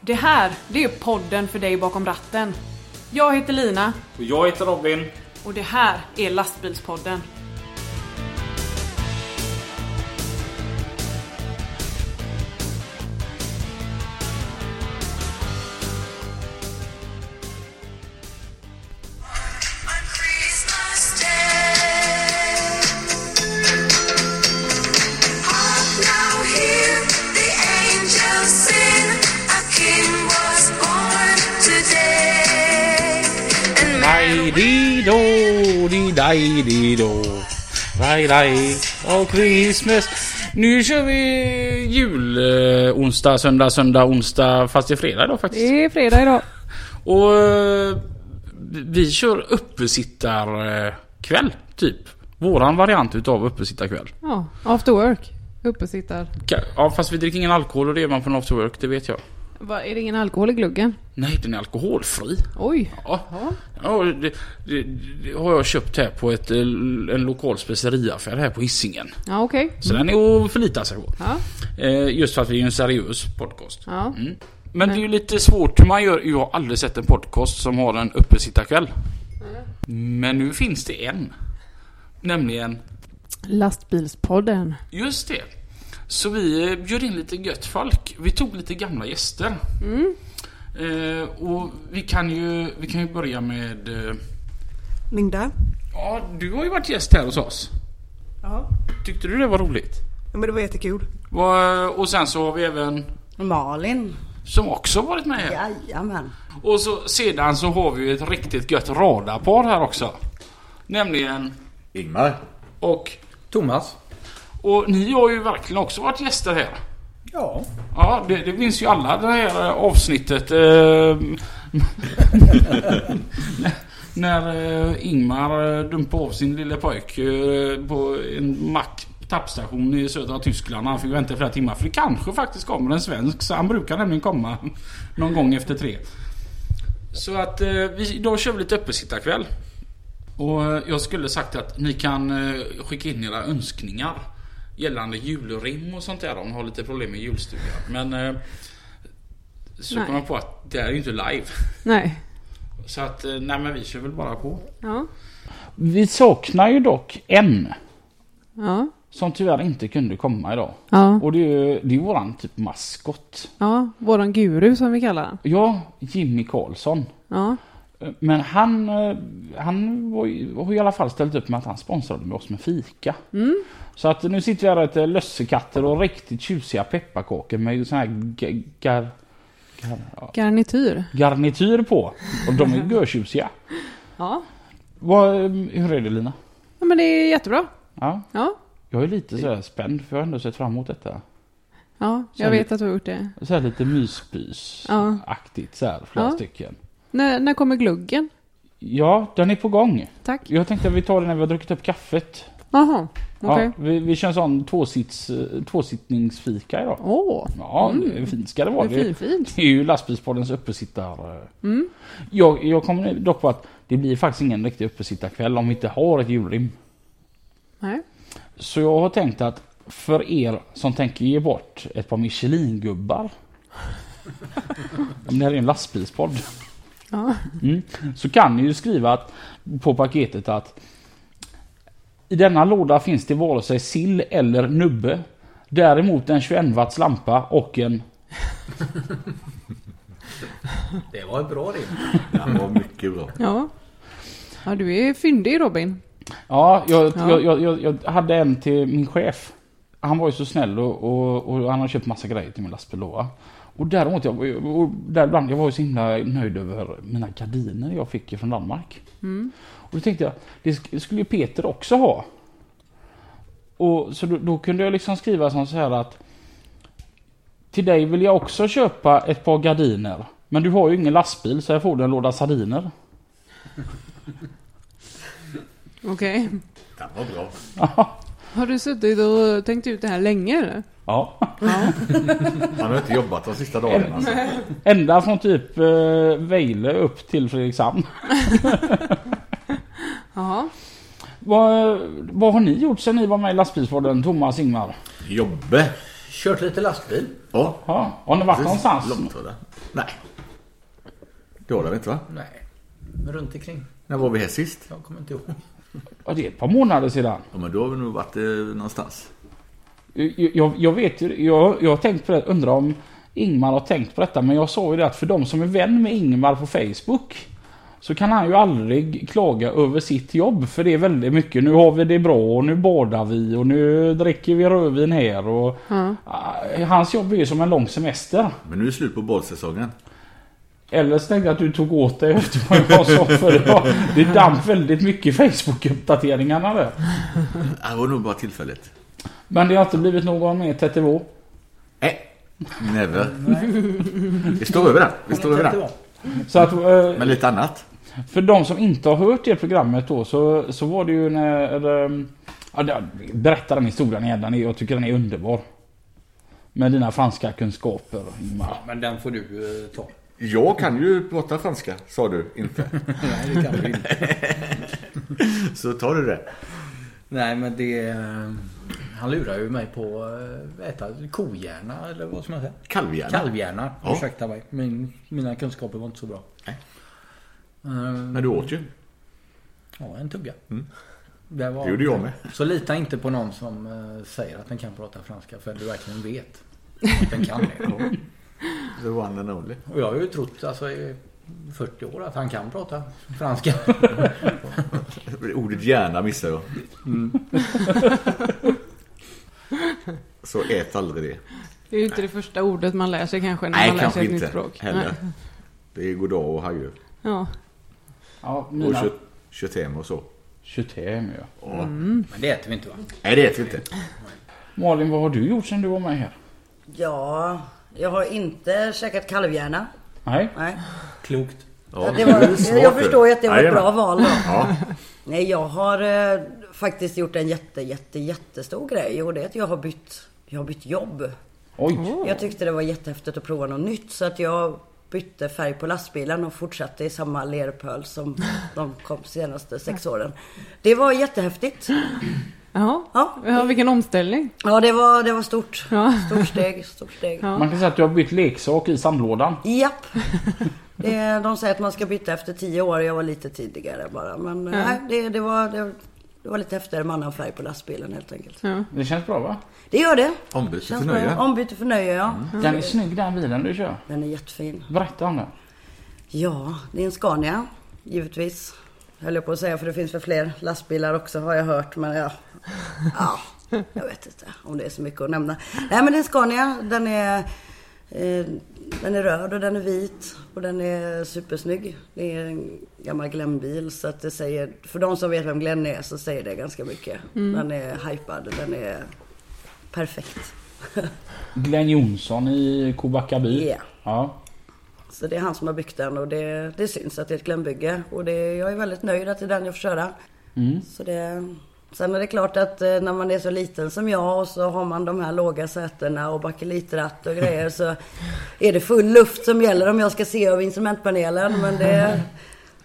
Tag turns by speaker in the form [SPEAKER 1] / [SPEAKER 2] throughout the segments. [SPEAKER 1] Det här, det är podden för dig bakom ratten. Jag heter Lina
[SPEAKER 2] Och jag heter Robin.
[SPEAKER 1] och det här är Lastbilspodden.
[SPEAKER 3] On Christmas Day, hark now hear the angels sing, a King was born today. And
[SPEAKER 4] Daj, di, do, di, daj, di, do. Daj, daj, och Christmas. Nu kör vi jul eh, onsdag, söndag, söndag, onsdag. Fast det är fredag idag faktiskt.
[SPEAKER 1] är fredag idag.
[SPEAKER 4] Och eh, vi kör uppesittarkväll, typ. Våran variant utav uppesittarkväll.
[SPEAKER 5] Ja, after work. Uppesittar.
[SPEAKER 4] Ka- Ja, fast vi dricker ingen alkohol och det gör man från after work, det vet jag.
[SPEAKER 5] Va, är det ingen alkohol i gluggen?
[SPEAKER 4] Nej, den är alkoholfri.
[SPEAKER 5] Oj.
[SPEAKER 4] Ja, ja det, det, det har jag köpt här på ett, eh, en lokal speceriaffär här på Hisingen.
[SPEAKER 5] Ja, okej.
[SPEAKER 4] Så den är att förlita sig på.
[SPEAKER 5] Ja,
[SPEAKER 4] Eh, just för att vi är en seriös podcast.
[SPEAKER 5] ja.
[SPEAKER 4] Mm. Men det är ju lite svårt hur man gör. Jag har aldrig sett en podcast som har en uppesittarkväll. Men nu finns det en. Nämligen,
[SPEAKER 5] Lastbilspodden.
[SPEAKER 4] just det. Så vi eh, bjöd in lite gött folk. Vi tog lite gamla gäster.
[SPEAKER 5] Mm.
[SPEAKER 4] Eh, och vi kan ju, vi kan ju börja med... Eh,
[SPEAKER 6] Linda?
[SPEAKER 4] ja, du har ju varit gäst här hos oss.
[SPEAKER 6] Ja.
[SPEAKER 4] Tyckte du det var roligt?
[SPEAKER 6] Men det var jättekul.
[SPEAKER 4] Va- Och sen så har vi även,
[SPEAKER 7] Malin.
[SPEAKER 4] som också varit med här.
[SPEAKER 7] Jajamän.
[SPEAKER 4] Och så, sedan så har vi ju ett riktigt gött radarpar här också. Nämligen
[SPEAKER 8] Ingmar.
[SPEAKER 4] och...
[SPEAKER 2] Thomas.
[SPEAKER 4] Och ni har ju verkligen också varit gäster här.
[SPEAKER 2] Ja.
[SPEAKER 4] Ja, det, det minns ju alla det här eh, avsnittet. Eh, när- när eh, Ingmar eh, dumpade av sin lille pojk eh, på en mack tappstation i södra Tyskland. Han fick vänta flera timmar. För det kanske faktiskt kommer en svensk. Så han brukar nämligen komma någon gång efter tre. Så att eh, vi, idag kör vi lite öppensittarkväll. Och eh, jag skulle sagt att ni kan eh, skicka in era önskningar gällande julrim och sånt där om ni har lite problem med julstugan. Men eh, så
[SPEAKER 5] Nej.
[SPEAKER 4] kom jag på att det här är ju inte live.
[SPEAKER 5] Nej.
[SPEAKER 4] Så att eh, nej men vi kör väl bara på.
[SPEAKER 5] Ja.
[SPEAKER 4] Vi saknar ju dock en
[SPEAKER 5] Ja.
[SPEAKER 4] som tyvärr inte kunde komma idag.
[SPEAKER 5] Ja.
[SPEAKER 4] Och det är ju det är våran typ maskott.
[SPEAKER 5] Ja. Våran guru som vi kallar den.
[SPEAKER 4] Ja, Jimmy Karlsson.
[SPEAKER 5] Ja.
[SPEAKER 4] Men han, eh, han var, ju- har ju i alla fall ställt upp med att han sponsrade med oss med fika.
[SPEAKER 5] Mm.
[SPEAKER 4] Så att nu sitter vi här och äter lössekatter och riktigt tjusiga pepparkakor med sån här ga- gar, gar, ja,
[SPEAKER 5] Garnityr.
[SPEAKER 4] garnityr på. Och de är görtjusiga.
[SPEAKER 5] Ja.
[SPEAKER 4] Vad, eh, hur är det Lina?
[SPEAKER 5] ja. men det är jättebra.
[SPEAKER 4] Ja,
[SPEAKER 5] Ja.
[SPEAKER 4] jag är lite så här spänd för jag har ändå sett fram emot detta.
[SPEAKER 5] Ja, jag
[SPEAKER 4] Sen-
[SPEAKER 5] vet att du har gjort det.
[SPEAKER 4] Så här lite myspys-aktigt så här, flera
[SPEAKER 5] Ja.
[SPEAKER 4] stycken.
[SPEAKER 5] När, när kommer gluggen?
[SPEAKER 4] Ja, den är på gång.
[SPEAKER 5] Tack.
[SPEAKER 4] Jag tänkte att vi tar den när vi har druckit upp kaffet.
[SPEAKER 5] Jaha, okej.
[SPEAKER 4] Ja, vi, vi kör en sån tvåsits, eh, tvåsittningsfika idag.
[SPEAKER 5] Åh,
[SPEAKER 4] Ja, det är fint ska det vara.
[SPEAKER 5] Mm. det är
[SPEAKER 4] Det,
[SPEAKER 5] fint, fint.
[SPEAKER 4] det är ju lastbilspoddens uppesittar... Mm. Jag, jag kommer dock på att det blir faktiskt ingen riktig uppesittarkväll om vi inte har ett julrim.
[SPEAKER 5] Nej.
[SPEAKER 4] Så jag har tänkt att för er som tänker ge bort ett par Michelin-gubbar. Men det här är ju en lastbilspodd.
[SPEAKER 5] Ja.
[SPEAKER 4] Mm. Så kan ni ju skriva att, på paketet att i denna låda finns det vare sig sill eller nubbe. Däremot en 21 watts lampa och en...
[SPEAKER 2] Det var ett bra rim.
[SPEAKER 8] Han var mycket bra.
[SPEAKER 5] Ja. Ja, du är fyndig Robin.
[SPEAKER 4] Ja, jag,
[SPEAKER 5] Ja.
[SPEAKER 4] Jag, jag, jag, jag hade en till min chef. Han var ju så snäll och, och, och han har köpt massa grejer till min lastbil då. va. Och däremot, jag, och där ibland, jag var ju så himla nöjd över mina gardiner jag fick från Danmark. Och då tänkte jag, det sk- skulle ju Peter också ha. Och så då, då kunde jag liksom skriva som så här att Till dig vill jag också köpa ett par gardiner. Men du har ju ingen lastbil så här får du en låda sardiner.
[SPEAKER 5] Okej.
[SPEAKER 8] Den var bra.
[SPEAKER 5] Har du suttit och tänkt ut det här länge eller?
[SPEAKER 4] Ja.
[SPEAKER 8] Han har inte jobbat de sista dagarna. Alltså.
[SPEAKER 4] Ända från typ eh, Vejle upp till Fredrikshamn.
[SPEAKER 5] Jaha.
[SPEAKER 4] Vad, vad har ni gjort sen ni var med i lastbilspodden Thomas Ingmar?
[SPEAKER 8] Jobbe.
[SPEAKER 2] Kört lite lastbil.
[SPEAKER 8] Ja.
[SPEAKER 4] Ja, har ni varit
[SPEAKER 8] precis.
[SPEAKER 4] någonstans?
[SPEAKER 8] Långtradare.
[SPEAKER 9] Nej. Det har vi inte va?
[SPEAKER 2] Nej. Runt omkring.
[SPEAKER 9] När var vi här sist?
[SPEAKER 2] Jag kommer inte ihåg.
[SPEAKER 4] Ja, det är ett par månader sedan.
[SPEAKER 9] Ja men då har vi nog varit eh, någonstans.
[SPEAKER 4] Jag, jag, jag vet ju, jag, jag har tänkt på det, undrar om Ingmar har tänkt på detta, men jag sa ju det att för de som är vän med Ingmar på Facebook så kan han ju aldrig klaga över sitt jobb för det är väldigt mycket. Nu har vi det bra och nu badar vi och nu dricker vi rödvin här och...
[SPEAKER 5] Ja.
[SPEAKER 4] Ah, Hans jobb är ju som en lång semester.
[SPEAKER 9] Men nu är det slut på badsäsongen.
[SPEAKER 4] Eller så tänkte jag att du tog åt dig efter vad jag sa för det, var, det damp väldigt mycket i Facebook-uppdateringarna där.
[SPEAKER 9] Ja, Det var nog bara tillfälligt.
[SPEAKER 4] Men det har inte blivit någon mer TTV.
[SPEAKER 9] Nej. Never. Vi står över den. Vi står över den.
[SPEAKER 4] Så att, eh,
[SPEAKER 9] Men lite annat.
[SPEAKER 4] För de som inte har hört det programmet då så, så var det ju när... eh, Ja, det- berätta den historien igen, den är, jag tycker den är underbar. Med dina franska kunskaper Ingmar.
[SPEAKER 2] Ja, men den får du eh, ta.
[SPEAKER 9] Jag kan ju prata franska, sa du inte.
[SPEAKER 2] Nej, det kan du inte.
[SPEAKER 9] Så tar du det.
[SPEAKER 2] Nej, men det... eh, Han lurar ju mig på eh, äta kohjärna eller vad som helst.
[SPEAKER 9] Kalvhjärna.
[SPEAKER 2] Kalvhjärna.
[SPEAKER 9] Ja.
[SPEAKER 2] Ursäkta mig. Min, mina kunskaper var inte så bra.
[SPEAKER 9] Nej.
[SPEAKER 2] Eh,
[SPEAKER 9] Men du åt ju.
[SPEAKER 2] Ja, en tugga. Det, var,
[SPEAKER 9] Det gjorde jag med.
[SPEAKER 2] Så lita inte på någon som eh, säger att den kan prata franska för du verkligen vet att den kan det.
[SPEAKER 9] The one and only.
[SPEAKER 2] Och jag har ju trott alltså, i 40 år att han kan prata franska.
[SPEAKER 9] Ordet hjärna missar jag. Mm. Så ät aldrig det.
[SPEAKER 5] Det är ju inte det första ordet man lär sig kanske när man lär sig ett nytt språk.
[SPEAKER 9] heller.
[SPEAKER 5] Nej.
[SPEAKER 9] Det är goddag och hajö.
[SPEAKER 5] Ja.
[SPEAKER 4] Ja,
[SPEAKER 9] Och
[SPEAKER 4] mina...
[SPEAKER 9] kö- köttem och så.
[SPEAKER 4] 25 ja.
[SPEAKER 9] Ja.
[SPEAKER 2] Men det äter vi inte va?
[SPEAKER 9] Nej, det äter vi inte.
[SPEAKER 4] Malin, vad har du gjort sen du var med här?
[SPEAKER 7] Ja, jag har inte käkat kalvhjärna.
[SPEAKER 4] Nej?
[SPEAKER 7] Nej.
[SPEAKER 2] Klokt.
[SPEAKER 9] Ja,
[SPEAKER 7] Det var,
[SPEAKER 9] du är smart,
[SPEAKER 7] jag
[SPEAKER 9] du.
[SPEAKER 7] förstår ju att det var ett
[SPEAKER 9] Jajamän.
[SPEAKER 7] bra val då.
[SPEAKER 9] Ja,
[SPEAKER 7] Nej, jag har eh, faktiskt gjort en jätte, jätte, jättestor grej. Och det är att jag har bytt, jag har bytt jobb.
[SPEAKER 4] Oj.
[SPEAKER 7] Jag tyckte det var jättehäftigt att prova något nytt. Så att jag bytte färg på lastbilen och fortsatte i samma lerpöl som de kom senaste sex åren. Det var jättehäftigt.
[SPEAKER 5] Jaha.
[SPEAKER 7] Ja.
[SPEAKER 5] Ja, vilken omställning.
[SPEAKER 7] Ja, det var, det var stort.
[SPEAKER 5] Ja.
[SPEAKER 7] Stort steg, stort steg.
[SPEAKER 4] Man kan säga att du har bytt leksak i sandlådan.
[SPEAKER 7] Japp. Det, är- de säger att man ska byta efter tio år. Jag var lite tidigare bara. Men eh, nej, det, det, var, det, det var lite häftigare med annan färg på lastbilen helt enkelt.
[SPEAKER 5] Ja.
[SPEAKER 4] Det känns bra va?
[SPEAKER 7] Det gör det.
[SPEAKER 9] ombyte
[SPEAKER 7] Känns
[SPEAKER 9] för
[SPEAKER 7] bra.
[SPEAKER 9] nöje.
[SPEAKER 7] Ombyte för nöje, ja.
[SPEAKER 4] Den är snygg den bilen du kör.
[SPEAKER 7] Den är jättefin.
[SPEAKER 4] Berätta om den.
[SPEAKER 7] Ja, det är en Scania. Givetvis. Höll jag på att säga för det finns väl fler lastbilar också har jag hört. Men ja. ja jag vet inte om det är så mycket att nämna. Nej men det är en Scania. Den är, eh, den är röd och den är vit. Och den är supersnygg. Det är en gammal Glenn-bil. Så att det säger, för de som vet vem Glenn är så säger det ganska mycket. Den är hypad. Den är perfekt.
[SPEAKER 4] Glenn Jonsson i Kobakaby.
[SPEAKER 7] Yeah.
[SPEAKER 4] Ja.
[SPEAKER 7] Så det är han som har byggt den och det, det syns att det är ett glömbygge. Och det, jag är väldigt nöjd att det är den jag får köra. Så det, sen är det klart att eh, när man är så liten som jag och så har man de här låga sätena och bakelitratt och grejer så är det full luft som gäller om jag ska se över instrumentpanelen. Men det,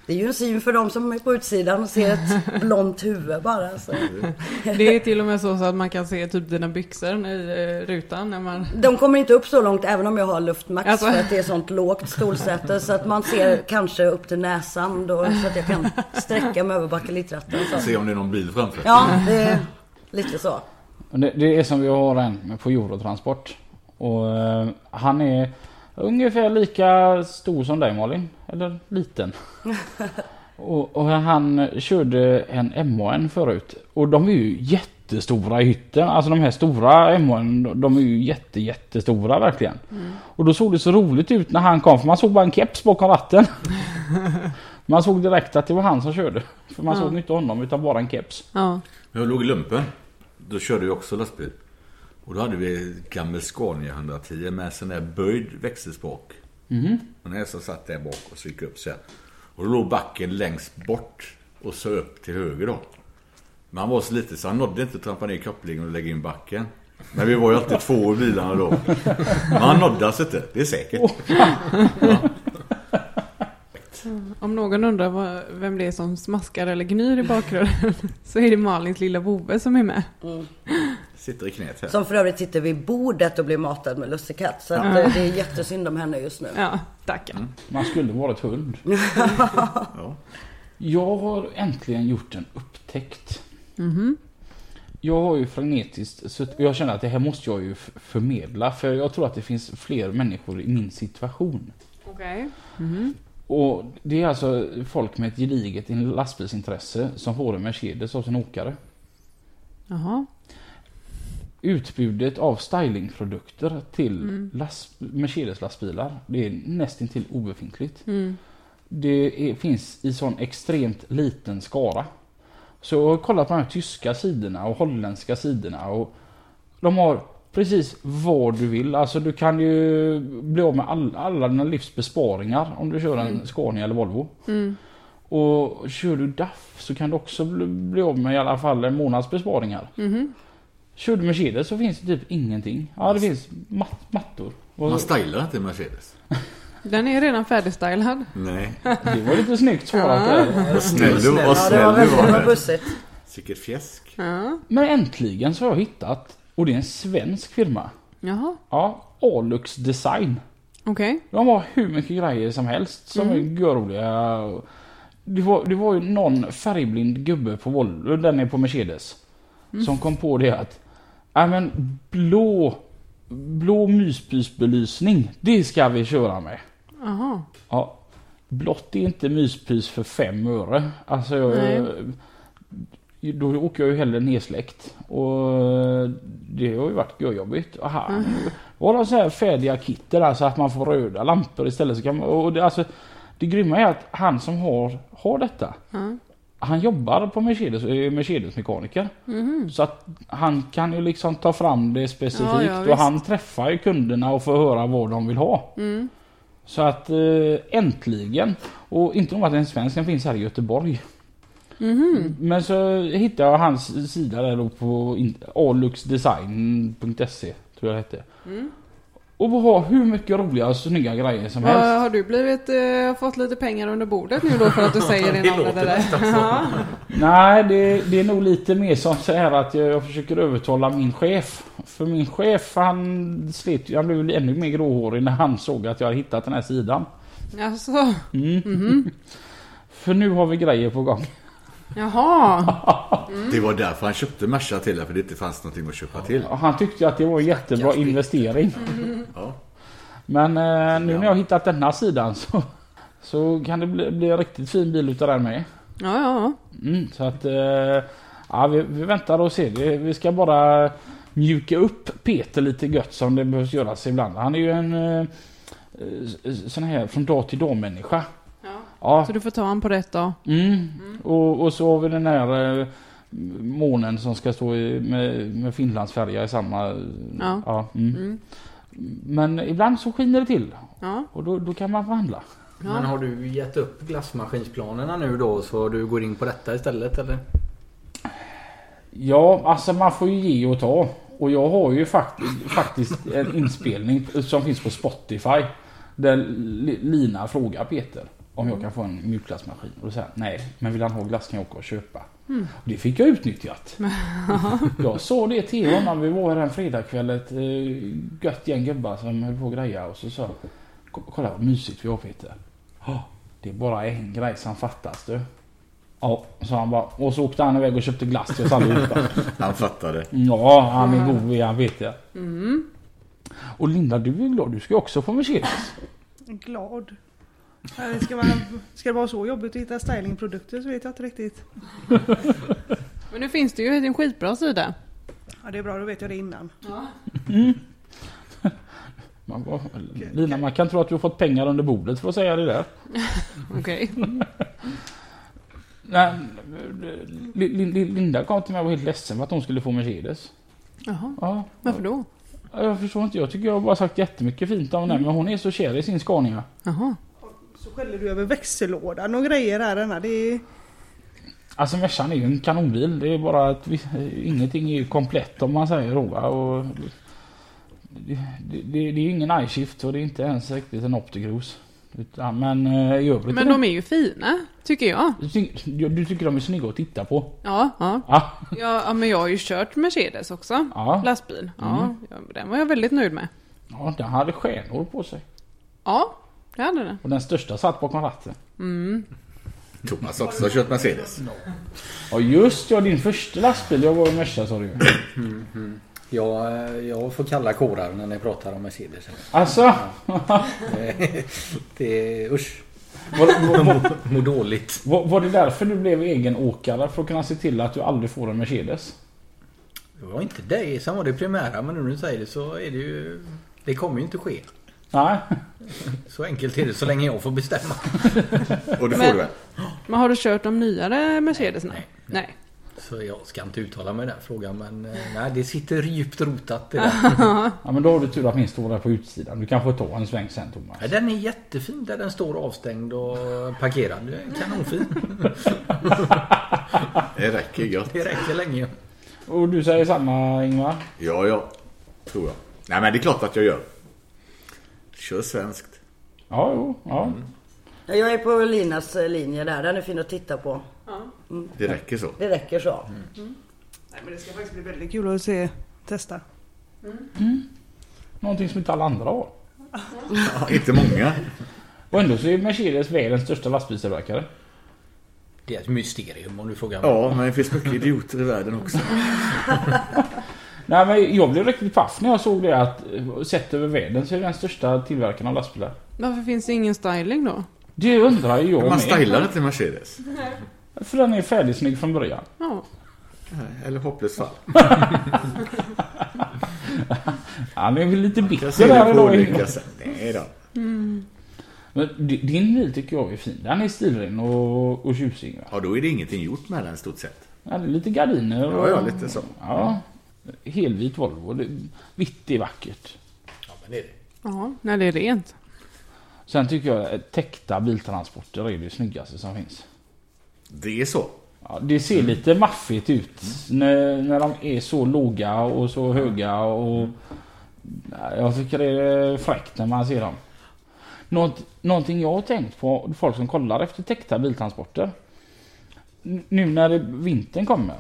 [SPEAKER 7] det är ju en syn för dem som är på utsidan och ser ett blont huvud bara. Så.
[SPEAKER 5] Det är till och med så, så att man kan se typ dina byxor i eh, rutan när man...
[SPEAKER 7] De kommer inte upp så långt även om jag har luftmax
[SPEAKER 5] Alltså.
[SPEAKER 7] för att det är sånt lågt stolsäte så att man ser kanske upp till näsan då så att jag kan sträcka mig över bakelitratten. Så.
[SPEAKER 9] Se om det är någon bil framför.
[SPEAKER 7] Ja, det är lite så.
[SPEAKER 4] Och Det, det är som vi har en på Eurotransport. Och eh, han är ungefär lika stor som dig Malin. Eller liten. och, och han körde en MHN förut. Och de är ju jättestora i hytten. Alltså de här stora MHN, de- de är ju jätte jättestora verkligen. Och då såg det så roligt ut när han kom för man såg bara en keps bakom ratten. man såg direkt att det var han som körde. För man såg inte honom utan bara en keps.
[SPEAKER 5] Ja.
[SPEAKER 9] När jag låg i lumpen, då körde jag också lastbil. Och då hade vi ett gammel Scania 110 med sån där böjd växelspak. Och när jag så satt där bak och så gick jag upp så här. Och då låg backen längst bort och så upp till höger då. Men han var så liten så han nådde inte att trampa ner kopplingen och lägga in backen. Men vi var ju alltid två i bilarna då. Men han nådde alltså inte, det är säkert.
[SPEAKER 5] Om någon undrar vad, vem det är som smaskar eller gnyr i bakgrunden så är det Malins lilla vovve som är med.
[SPEAKER 8] Sitter i knät här.
[SPEAKER 7] Som för övrigt sitter vid bordet och blir matad med lussekatt. Så att, eh, det är jättesynd om henne just nu.
[SPEAKER 5] Ja, tackar.
[SPEAKER 4] Man skulle varit hund.
[SPEAKER 8] Ja.
[SPEAKER 4] Jag har äntligen gjort en upptäckt. Jag har ju frenetiskt suttit- och jag känner att det här måste jag ju f- förmedla för jag tror att det finns fler människor i min situation.
[SPEAKER 1] Okej.
[SPEAKER 4] Och det är alltså folk med ett gediget lastbilsintresse som får en Mercedes av sin åkare.
[SPEAKER 5] Jaha.
[SPEAKER 4] Utbudet av stylingprodukter till last, Mercedes-lastbilar, det är nästintill obefintligt. Det är, finns i sån extremt liten skara. Så jag har kollat på de här tyska sidorna och holländska sidorna och de har precis vad du vill. Alltså du kan ju bli av med all, alla dina livs besparingar om du kör en Scania eller Volvo. Och kör du DAF så kan du också bli, bli av med i alla fall en månads besparingar. Kör du Mercedes så finns det typ ingenting. Ja det finns mat, mattor. Och
[SPEAKER 8] Man stylar inte Mercedes.
[SPEAKER 5] Den är redan färdigstylad.
[SPEAKER 8] Nej.
[SPEAKER 4] det var lite snyggt svarat där.
[SPEAKER 8] Vad snäll du vad
[SPEAKER 7] Ja, det var
[SPEAKER 8] snäll du var.
[SPEAKER 7] väldigt
[SPEAKER 8] där.
[SPEAKER 7] bussigt.
[SPEAKER 8] Vilket fjäsk.
[SPEAKER 4] Men äntligen så har jag hittat och det är en svensk firma.
[SPEAKER 5] Jaha,
[SPEAKER 4] Ja, Alux Design.
[SPEAKER 5] okej.
[SPEAKER 4] De har hur mycket grejer som helst som är göroliga. Det var, det var ju någon färgblind gubbe på Volvo, den är på Mercedes. Som kom på det att, ja men blå, blå myspysbelysning, det ska vi köra med.
[SPEAKER 5] Jaha.
[SPEAKER 4] Ja, blått är inte myspys för fem öre. Alltså jag, då åker jag ju hellre nedsläckt. Och eh, det har ju varit görjobbigt. Aha.
[SPEAKER 5] Mm-hmm.
[SPEAKER 4] Och de så här färdiga kitter alltså att man får röda lampor istället. Så kan man, och det, alltså, det grymma är att han som har, har detta. Han jobbar på Mercedes, är Mercedes-mekaniker. Så att han kan ju liksom ta fram det specifikt.
[SPEAKER 5] Mm-hmm. Ja, ja,
[SPEAKER 4] och
[SPEAKER 5] visst.
[SPEAKER 4] han träffar ju kunderna och får höra vad de vill ha.
[SPEAKER 5] Mm.
[SPEAKER 4] Så att eh, äntligen. Och inte nog att en svensk, den finns här i Göteborg. Men så hittade jag hans sida där då på in- aluxdesign.se tror jag det hette. Och har hur mycket roliga och snygga grejer som helst.
[SPEAKER 5] Har, har du blivit, eh, fått lite pengar under bordet nu då för att du säger din alla det där? Ja.
[SPEAKER 4] Nej, det, det är nog lite mer som så här att jag, jag försöker övertala min chef. För min chef han slet ju- han blev ju ännu mer gråhårig när han såg att jag hade hittat den här sidan.
[SPEAKER 5] Alltså,
[SPEAKER 4] För nu har vi grejer på gång.
[SPEAKER 5] jaha.
[SPEAKER 8] Det var därför han köpte Merca till för det inte fanns någonting att köpa till.
[SPEAKER 4] Och han tyckte ju att det var en jättebra investering.
[SPEAKER 8] Ja.
[SPEAKER 4] Men eh, nu när jag har hittat denna sidan så, så kan det bli, bli en riktigt fin bil utav den med.
[SPEAKER 5] Ja, ja.
[SPEAKER 4] Mm, så att... Eh, ja, vi, vi väntar och ser. Vi, vi ska bara mjuka upp Peter lite gött som det behövs göras ibland. Han är ju en... Eh, eh, sån här från dag till dag människa. Ja.
[SPEAKER 5] Så du får ta han på rätt dag.
[SPEAKER 4] Mm. Och, och så har vi den här eh, månen som ska stå i, med, med Finlandsfärja i samma...
[SPEAKER 5] Ja.
[SPEAKER 4] mm. Men ibland så skiner det till.
[SPEAKER 5] Ja.
[SPEAKER 4] Och då, då kan man förhandla.
[SPEAKER 2] Men har du gett upp glassmaskinsplanerna nu då så du går in på detta istället eller?
[SPEAKER 4] Ja, alltså man får ju ge och ta. Och jag har ju fakt faktiskt en inspelning som finns på Spotify. Där Li- Lina frågar Peter om jag kan få en mjukglassmaskin. Och då säger han nej, men vill han ha glass kan jag åka och köpa. Och det fick jag utnyttjat. jag sa det till honom, vi var här en fredagkväll, ett eh, gött gäng gubbar som höll på och greja och så sa jag, "Ko- kolla vad mysigt vi har Peter. "Ja, Det är bara en grej som fattas du. Ja, så han bara. Och så åkte han iväg och köpte glass till oss allihopa.
[SPEAKER 8] Han fattade.
[SPEAKER 4] Ja, han är god han vet jag. Och Linda, du är glad. Du ska ju också få Mercedes.
[SPEAKER 6] Glad. Eh, Ska, man, ska det vara så jobbigt att hitta stylingprodukter så vet jag inte riktigt.
[SPEAKER 5] Men nu finns det ju en skitbra sida.
[SPEAKER 6] Ja, det är bra, då vet jag det innan.
[SPEAKER 4] Man, bara, Lina, man kan tro att du har fått pengar under bordet för att säga det där.
[SPEAKER 5] Okej.
[SPEAKER 4] Nej, Li- Li- Li- Linda kom till mig och var helt ledsen för att hon skulle få Mercedes.
[SPEAKER 5] Jaha.
[SPEAKER 4] Ja,
[SPEAKER 5] Varför då?
[SPEAKER 4] jag förstår inte. Jag tycker jag har bara sagt jättemycket fint om den. Men hon är så kär i sin Scania.
[SPEAKER 5] Jaha.
[SPEAKER 6] Så skäller du över växellådan och grejer här. Anna. Det är,
[SPEAKER 4] Alltså Mercan är ju en kanonbil. Det är bara att vi, ingenting är ju komplett om man säger då. va. Och det, det, det är ju ingen iShift och det är inte ens riktigt en Optigros. Utan, men eh, i övrigt...
[SPEAKER 5] Men de är ju fina, tycker jag.
[SPEAKER 4] Du, ty- du- du tycker de är snygga att titta på?
[SPEAKER 5] Ja, ja.
[SPEAKER 4] Ja.
[SPEAKER 5] ja, ja men jag har ju kört Mercedes också.
[SPEAKER 4] Ja.
[SPEAKER 5] Lastbil. Ja, ja, den var jag väldigt nöjd med.
[SPEAKER 4] Ja, den hade stjärnor på sig.
[SPEAKER 5] Ja, det hade den.
[SPEAKER 4] Och den största satt bakom ratten.
[SPEAKER 8] Thomas också har kört Mercedes.
[SPEAKER 4] Ja just ja, din första lastbil. Jag var i Merca sa du ju.
[SPEAKER 2] Jag, eh, jag får kalla kårar när ni pratar om Mercedes.
[SPEAKER 4] Alltså?
[SPEAKER 2] Det- Det är usch.
[SPEAKER 4] Var, var, var,
[SPEAKER 2] Mår dåligt.
[SPEAKER 4] var, var det därför du blev egenåkare? För att kunna se till att du aldrig får en Mercedes?
[SPEAKER 2] Det var inte det som var det primära men nu när du säger det så är det ju... Det kommer ju inte ske.
[SPEAKER 4] Nej.
[SPEAKER 2] Så enkelt är det så länge jag får bestämma.
[SPEAKER 8] Och det får
[SPEAKER 5] Men-
[SPEAKER 8] du väl?
[SPEAKER 5] Men har du kört de nyare Mercedeserna?
[SPEAKER 2] nej,
[SPEAKER 5] nej.
[SPEAKER 2] Så jag ska inte uttala mig i den frågan men eh, nej det sitter djupt rotat det där.
[SPEAKER 4] Ja men då har du tur att min står där på utsidan. Du kan få ta en sväng sen Thomas.
[SPEAKER 2] Ja, Den är jättefin där den står avstängd och parkerad. Det är Kanonfin.
[SPEAKER 8] Det räcker gött.
[SPEAKER 2] Det räcker länge.
[SPEAKER 4] Och du säger samma Ingvar?
[SPEAKER 8] Ja, ja. Tror jag. Nej, men det är klart att jag gör. Kör svenskt.
[SPEAKER 4] Ja, jo, ja.
[SPEAKER 8] Mm.
[SPEAKER 7] Ja, Jag är på Linas eh, linje där. Den är fin att titta på.
[SPEAKER 8] Det räcker så.
[SPEAKER 7] Det räcker så.
[SPEAKER 6] Nej, men det ska faktiskt bli väldigt kul att se, testa.
[SPEAKER 4] Någonting som inte alla andra har.
[SPEAKER 8] Ja, inte många.
[SPEAKER 4] Och ändå så är Mercedes världens största lastbilstillverkare.
[SPEAKER 2] Det är ett mysterium om du frågar mig.
[SPEAKER 8] Ja, men det finns mycket idioter i världen också.
[SPEAKER 4] Nej men jag blev riktigt paff när jag såg det att eh, sett över världen så är det den största tillverkaren av lastbilar.
[SPEAKER 5] Varför finns det ingen styling då?
[SPEAKER 4] Det undrar ju jag
[SPEAKER 8] Man
[SPEAKER 4] med.
[SPEAKER 8] stylar inte Mercedes.
[SPEAKER 4] För den är färdigsnygg från början.
[SPEAKER 5] Ja.
[SPEAKER 8] Eller hopplöst fall.
[SPEAKER 4] Han är väl lite
[SPEAKER 8] Jag
[SPEAKER 4] bitter
[SPEAKER 8] ser det
[SPEAKER 4] där
[SPEAKER 8] på
[SPEAKER 4] idag.
[SPEAKER 8] olika sätt. Nej då.
[SPEAKER 4] Men di- din bil tycker jag är fin. Den är stilren och, och tjusig. Va?
[SPEAKER 8] Ja, då är det ingenting gjort med den i stort sett.
[SPEAKER 4] Ja, det är lite gardiner och...
[SPEAKER 8] Ja, ja, lite så.
[SPEAKER 4] Ja. Helvit Volvo. Det- Vitt är vackert.
[SPEAKER 2] Ja, men det är det.
[SPEAKER 5] Ja, när det är rent.
[SPEAKER 4] Sen tycker jag att täckta biltransporter är det snyggaste som finns.
[SPEAKER 8] Det är så.
[SPEAKER 4] Ja, det ser lite maffigt ut när, när de är så låga och så höga och... Nej, Jag tycker det är fräckt när man ser dem. Något, någonting jag har tänkt på, folk som kollar efter täckta biltransporter. N- Nu när det- vintern kommer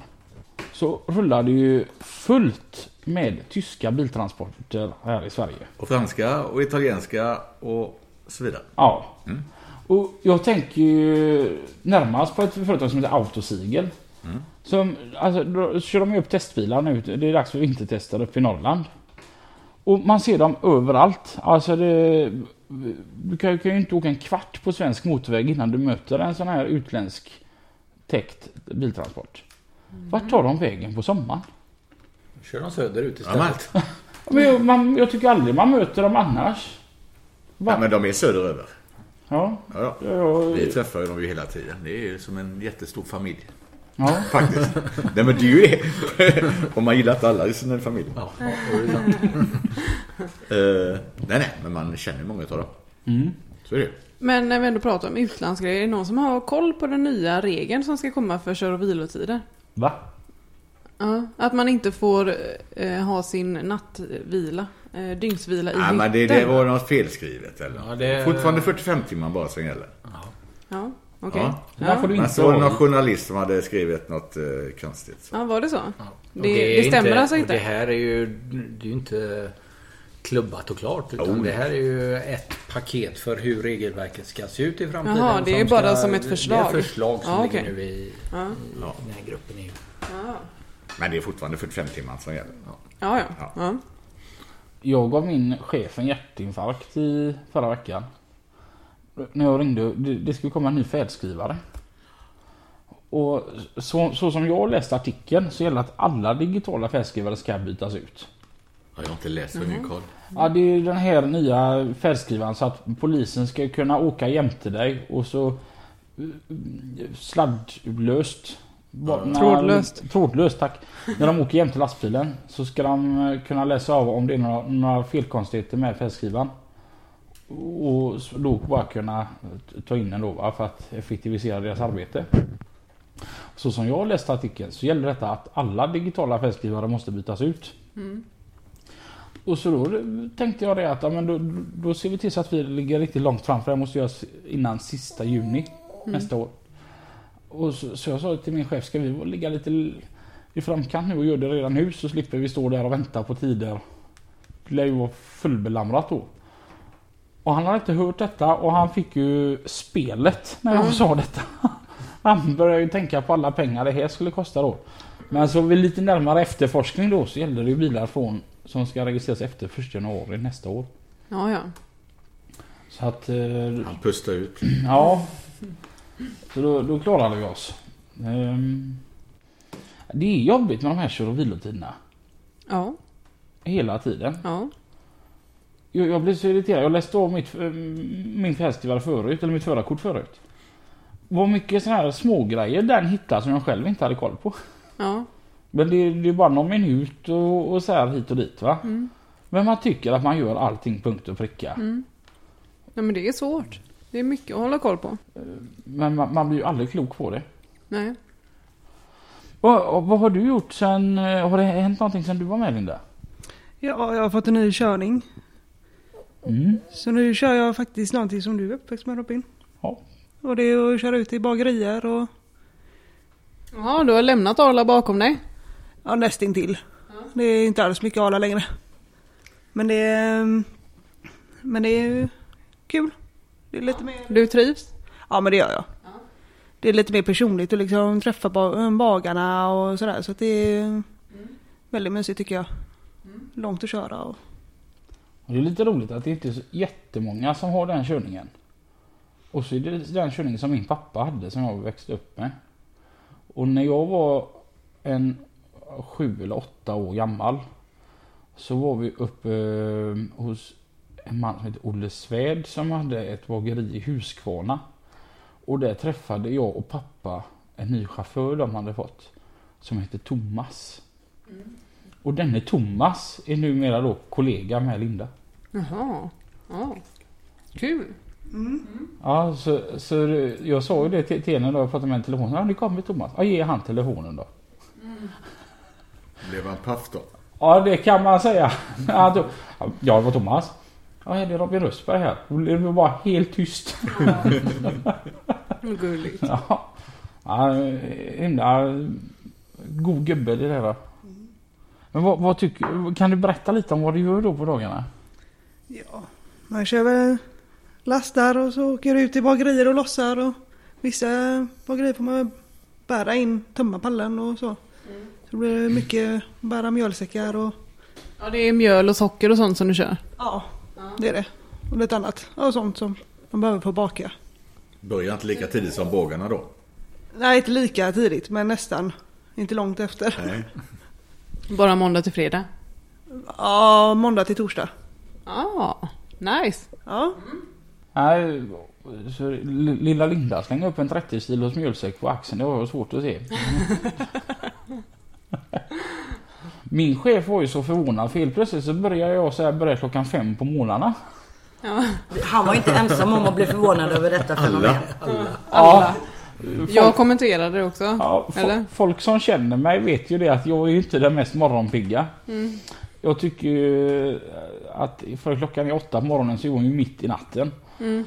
[SPEAKER 4] så rullar det ju fullt med tyska biltransporter här i Sverige.
[SPEAKER 8] Och franska och italienska och så vidare.
[SPEAKER 4] Ja.
[SPEAKER 8] Mm.
[SPEAKER 4] Och jag tänker ju närmast på ett företag som heter Autosigel.
[SPEAKER 8] Mm.
[SPEAKER 4] Som, alltså, då kör de ju upp testbilar nu. Det är dags för vintertester uppe i Norrland. Och man ser dem överallt. Alltså det, du kan, kan ju inte åka en kvart på svensk motorväg innan du möter en sån här utländsk täckt biltransport. Vart tar de vägen på sommaren?
[SPEAKER 2] Kör de söderut
[SPEAKER 8] Ja, men,
[SPEAKER 2] istället.
[SPEAKER 4] Men
[SPEAKER 8] Mm.
[SPEAKER 4] jag, man, jag tycker aldrig man möter dem annars.
[SPEAKER 8] ja, men de är söderöver.
[SPEAKER 4] Ja,
[SPEAKER 8] Ja, ja.
[SPEAKER 4] jag,
[SPEAKER 8] Vi träffar ju dem ju hela tiden. Det är ju som en jättestor familj.
[SPEAKER 4] ja.
[SPEAKER 8] Faktiskt. Nej men det är ju det. Om man gillar inte alla i sin familj.
[SPEAKER 2] Ja, ja, det är sant.
[SPEAKER 8] Eh, nej nej, men man känner ju många utav dem.
[SPEAKER 4] Mm.
[SPEAKER 8] Så är det ju.
[SPEAKER 5] Men när vi ändå pratar om utlandsgrejer, är det någon som har koll på den nya regeln som ska komma för kör och vilotider?
[SPEAKER 4] Va?
[SPEAKER 5] Ja, att man inte får eh, ha sin nattvila, eh, dygnsvila i
[SPEAKER 8] Nej men det, det
[SPEAKER 5] hytten.
[SPEAKER 8] var något felskrivet eller?
[SPEAKER 2] Ja, det-
[SPEAKER 8] Fortfarande 45 timmar bara som gäller.
[SPEAKER 5] Ja, okej.
[SPEAKER 8] Ja.
[SPEAKER 4] Det där
[SPEAKER 5] Ja.
[SPEAKER 4] får du
[SPEAKER 8] Men
[SPEAKER 4] inte
[SPEAKER 8] så var det
[SPEAKER 4] ha.
[SPEAKER 8] någon journalist som hade skrivit något eh, konstigt. Så.
[SPEAKER 5] Ja, var det så?
[SPEAKER 2] Och
[SPEAKER 5] Det,
[SPEAKER 2] är
[SPEAKER 5] det, stämmer alltså
[SPEAKER 2] och
[SPEAKER 5] inte?
[SPEAKER 2] Det här är ju, det är ju inte klubbat och klart. Utan
[SPEAKER 8] Oh.
[SPEAKER 2] det här är ju ett paket för hur regelverket ska se ut i framtiden.
[SPEAKER 5] Jaha, det är
[SPEAKER 2] som
[SPEAKER 5] bara som ett förslag.
[SPEAKER 2] Det är förslag som
[SPEAKER 5] Ja,
[SPEAKER 2] ligger
[SPEAKER 5] okej.
[SPEAKER 2] nu i,
[SPEAKER 5] Ja.
[SPEAKER 2] i den här gruppen. i-
[SPEAKER 8] Men det är fortfarande 45 timmar som gäller. Ja.
[SPEAKER 5] Ja, ja.
[SPEAKER 8] Ja.
[SPEAKER 5] ja.
[SPEAKER 4] Jag gav min chef en hjärtinfarkt i förra veckan. När jag ringde, det, det skulle komma en ny färdskrivare. Och så, så som jag läste artikeln så gäller att alla digitala färdskrivare ska bytas ut.
[SPEAKER 8] Ja, jag har inte läst mm
[SPEAKER 5] Mm-hmm.
[SPEAKER 8] ingen koll.
[SPEAKER 4] Ja, det är den här nya färdskrivaren så att polisen ska kunna åka jämte dig och så eh, sladdlöst. ba- när-
[SPEAKER 5] Trådlöst.
[SPEAKER 4] Trådlöst, tack. När de åker jämte lastbilen så ska de eh, kunna läsa av om det är några, några felkonstigheter med färdskrivaren. Och s- då bara kunna t- ta in den då va, för att effektivisera deras arbete. Så som jag läste artikeln så gäller detta att alla digitala färdskrivare måste bytas ut. Och så då tänkte jag det att ja, men då, då ser vi till så att vi ligger riktigt långt fram för det här måste göras innan sista juni nästa år. Och så, så jag sa till min chef, ska vi ligga lite l- i framkant nu och göra det redan nu så slipper vi stå där och vänta på tider. Det lär ju vara fullbelamrat då. Och han hade inte hört detta och han fick ju spelet när jag sa detta. Han började ju tänka på alla pengar det här skulle kosta då. Men så vid lite närmare efterforskning då så gällde det ju bilar från som ska registreras efter 1 januari nästa år.
[SPEAKER 5] Ja, ja.
[SPEAKER 4] Så att eh,
[SPEAKER 8] Han pustar ut.
[SPEAKER 4] Ja. Så då, då klarade vi oss. Ehm, det är jobbigt med de här kör och vilotiderna.
[SPEAKER 5] Ja,
[SPEAKER 4] Hela tiden.
[SPEAKER 5] ja.
[SPEAKER 4] Jag, jag blev så irriterad. Jag läste av mitt, ehm, min festival förut, eller mitt förarkort förut. Vad mycket sådana här smågrejer den hittar som jag själv inte hade koll på.
[SPEAKER 5] ja.
[SPEAKER 4] Men det, det är bara någon minut och, och så här hit och dit va.
[SPEAKER 5] Mm.
[SPEAKER 4] Men man tycker att man gör allting punkt och pricka.
[SPEAKER 5] Nej, men det är svårt. Det är mycket att hålla koll på.
[SPEAKER 4] Men man, man blir ju aldrig klok på det.
[SPEAKER 5] Nej.
[SPEAKER 4] Och, och, vad har du gjort sen, eh, har det hänt någonting sen du var med Linda?
[SPEAKER 6] Ja, jag har fått en ny körning.
[SPEAKER 4] Mm.
[SPEAKER 6] Så nu kör jag faktiskt någonting som du är uppväxt med Robin.
[SPEAKER 4] Ja.
[SPEAKER 6] Och det är att köra ut i bagerier och
[SPEAKER 5] Ja, du har lämnat Arla bakom dig.
[SPEAKER 6] ja, nästintill. Det är inte alls mycket Arla längre. Men det är, mm, men det är ju kul. Det är lite mer...
[SPEAKER 5] Du trivs.
[SPEAKER 6] Ja men det gör jag. Det är lite mer personligt att liksom träffa ba- bagarna och sådär så att det är väldigt mysigt tycker jag. Långt att köra och...
[SPEAKER 4] Och det är lite roligt att det inte är så jättemånga som har den körningen. Och så är det den körningen som min pappa hade som jag växte upp med. Och när jag var en sju eller åtta år gammal så var vi uppe eh, hos en man som heter Olle Svärd som hade ett bageri i Huskvarna. Och där träffade jag och pappa en ny chaufför de hade fått som hette Thomas. Och denne Thomas är numera då kollega med Linda.
[SPEAKER 5] Jaha. Ja. Kul.
[SPEAKER 4] Ja, så, så jag sa ju det till, till henne då jag pratade med henne i telefon. Ja, nu kommer Thomas. Ja, ge han telefonen då.
[SPEAKER 8] Blev han paff då?
[SPEAKER 4] Ja, det kan man säga. Ja, då, ja det var Thomas. Ja, det är Robin Rösberg här. Och det var bara helt tyst.
[SPEAKER 5] Vad Gulligt.
[SPEAKER 4] Ja, ja himla god gubbe det där. va.
[SPEAKER 5] Mm.
[SPEAKER 4] Men vad, vad tycker, kan du berätta lite om vad du gör då på dagarna?
[SPEAKER 6] Ja, man kör väl lastar och så åker ut till bagerier och lossar och vissa bagerier får man bära in, tömma pallen och så. Så blir det mycket bära mjölsäckar och
[SPEAKER 5] Ja, det är mjöl och socker och sånt som du kör.
[SPEAKER 6] ja, det är det. Och lite annat och sånt som man behöver få baka.
[SPEAKER 8] Börjar inte lika tidigt som bågarna då?
[SPEAKER 6] Nej, inte lika tidigt men nästan. Inte långt efter.
[SPEAKER 5] Bara måndag till fredag.
[SPEAKER 6] Ja, måndag till torsdag.
[SPEAKER 5] Ja, nice.
[SPEAKER 6] Ja,
[SPEAKER 4] Nej, så li- lilla Linda slänger upp en 30 kilos mjölsäck på axeln. Det var svårt att se. Min chef var ju så förvånad för helt plötsligt så började jag så här börja klockan fem på morgnarna.
[SPEAKER 7] Han var inte ensam om att bli förvånad över detta fenomen.
[SPEAKER 4] Ja,
[SPEAKER 5] Jag kommenterade det också.
[SPEAKER 4] ja, fo-
[SPEAKER 5] Eller?
[SPEAKER 4] Folk som känner mig vet ju det att jag är ju inte den mest morgonpigga.
[SPEAKER 5] Mm.
[SPEAKER 4] Jag tycker ju eh, att för klockan är åtta på morgonen så är hon ju mitt i natten.
[SPEAKER 5] Mm.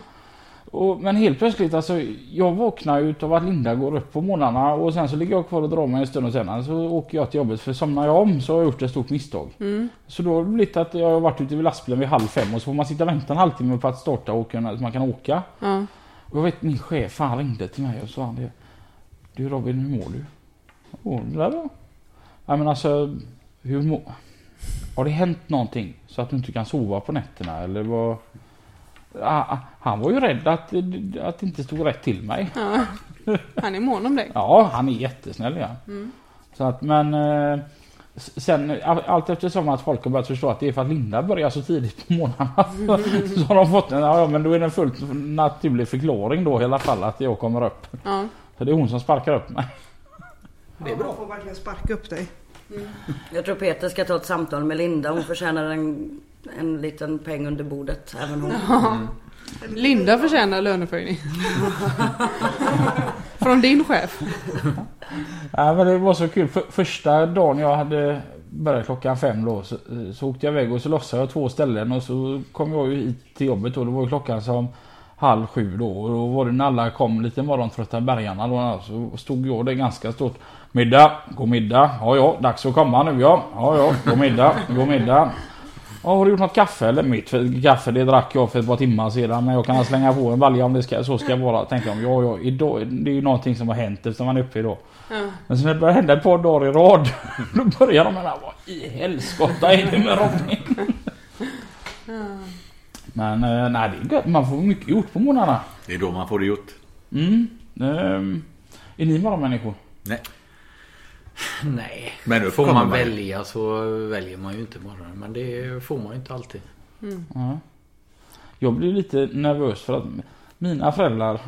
[SPEAKER 4] Och, men helt plötsligt alltså, jag vaknar ju utav att Linda går upp på morgnarna och sen så ligger jag kvar och drar mig en stund och sen så åker jag till jobbet för somnar jag om så har jag gjort ett stort misstag.
[SPEAKER 5] Mm.
[SPEAKER 4] Så då har det blivit att jag har varit ute vid lastbilen vid halv fem och så får man sitta och vänta en halvtimme på att starta och kunna, så man kan åka.
[SPEAKER 5] Ja.
[SPEAKER 4] Och jag vet min chef han ringde till mig och sa han det. Du Robin hur mår du? Åh det där bra. Nej men alltså hur mår... Har det hänt någonting så att du inte kan sova på nätterna eller vad? Ah, ah, Han var ju rädd att, att det inte stod rätt till mig.
[SPEAKER 5] Ja. Han är mån om dig.
[SPEAKER 4] Ja, han är jättesnäll ja.
[SPEAKER 5] Mm.
[SPEAKER 4] Så att men... eh, s- Sen eh, allt eftersom att folk har börjat förstå att det är för att Linda börjar så tidigt på morgnarna. så har de fått en, ja ja, men då är det en fullt naturlig förklaring då i alla fall att jag kommer upp.
[SPEAKER 5] Ja.
[SPEAKER 4] Så det är hon som sparkar upp mig.
[SPEAKER 6] det är bra. Man får verkligen sparka upp dig.
[SPEAKER 7] Jag tror Peter ska ta ett samtal med Linda. Hon förtjänar en, en liten peng under bordet. Även hon.
[SPEAKER 5] Linda förtjänar löneförhöjning. Från din chef.
[SPEAKER 4] Nej men det var så kul. För, första dagen jag hade började klockan fem då. Så, så åkte jag iväg och så lossade jag två ställen och så kom jag ju hit till jobbet och då var ju klockan som halv sju då. Och då var det när alla kom lite morgontrötta bärgarna då. Så stod jag där ganska stort. Middag, god middag. Ja ja, dags att komma nu ja. Ja ja, god middag, god middag. Ja, har du gjort något kaffe eller? Mitt för- kaffe det drack jag för ett par timmar sedan men jag kan slänga på en balja om det ska, så ska vara. Tänkte jag, ja ja, idag, det är ju någonting som har hänt eftersom man är uppe idag. Men sen när det började hända ett par dagar i rad Då började de med det här, Vad i helskotta är det med Robin? Men eh, nej det är gött. Man får mycket gjort på månaderna.
[SPEAKER 9] Det är då man får det gjort.
[SPEAKER 4] Mm. Ehm, Är ni bara människor?
[SPEAKER 9] Nej.
[SPEAKER 2] Nej.
[SPEAKER 9] Men nu får
[SPEAKER 2] Får man
[SPEAKER 9] man
[SPEAKER 2] välja så väljer man ju inte morgonen. Men det får man ju inte alltid.
[SPEAKER 4] Ja. Jag blir lite nervös för att mina föräldrar eh,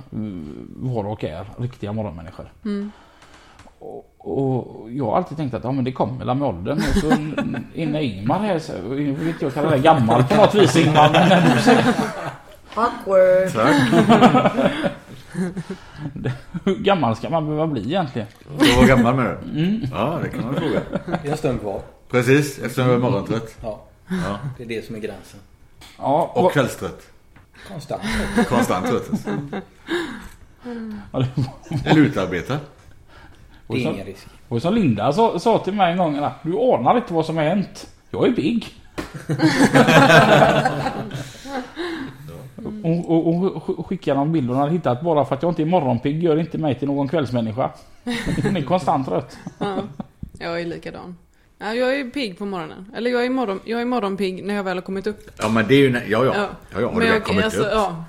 [SPEAKER 4] var och är riktiga morgonmänniskor. Och, och jag har alltid tänkt att ja, men det kommer väl med åldern. Och så innan Ingmar här så jag vet inte jag kallar dig gammal på något vis Ingmar. Men när du säger
[SPEAKER 7] Awkward.
[SPEAKER 9] Tack.
[SPEAKER 4] hur gammal ska man behöva bli egentligen?
[SPEAKER 9] Du var gammal med det?
[SPEAKER 4] Mm.
[SPEAKER 9] Ja, det kan man fråga.
[SPEAKER 2] Det är en stund kvar.
[SPEAKER 9] Precis, eftersom jag är morgontrött.
[SPEAKER 2] Ja.
[SPEAKER 9] Ja.
[SPEAKER 2] Det är det som är gränsen.
[SPEAKER 4] Ja,
[SPEAKER 9] Och
[SPEAKER 4] vad-
[SPEAKER 9] kvällstrött.
[SPEAKER 2] Konstant.
[SPEAKER 9] Konstant trött. alltså.
[SPEAKER 4] ja, det var-
[SPEAKER 9] Eller utarbetad.
[SPEAKER 2] Det är ingen risk.
[SPEAKER 4] Och som Linda sa, sa till mig en gång att du anar inte vad som har hänt. Jag är big. Hon, hon, hon sk- skickar någon bild hon hade hittat bara för att jag inte är morgonpigg gör inte mig till någon kvällsmänniska. Hon är konstant trött.
[SPEAKER 5] Ja, jag är likadan. Ja, jag är pigg på morgonen. Eller jag är, morgon, jag är morgonpigg när jag väl har kommit upp.
[SPEAKER 9] Ja, men det är ju... Ja, ja. ja. ja, har
[SPEAKER 5] Men
[SPEAKER 9] du väl
[SPEAKER 5] jag-
[SPEAKER 9] kommit
[SPEAKER 5] alltså,
[SPEAKER 9] upp?
[SPEAKER 5] Ja.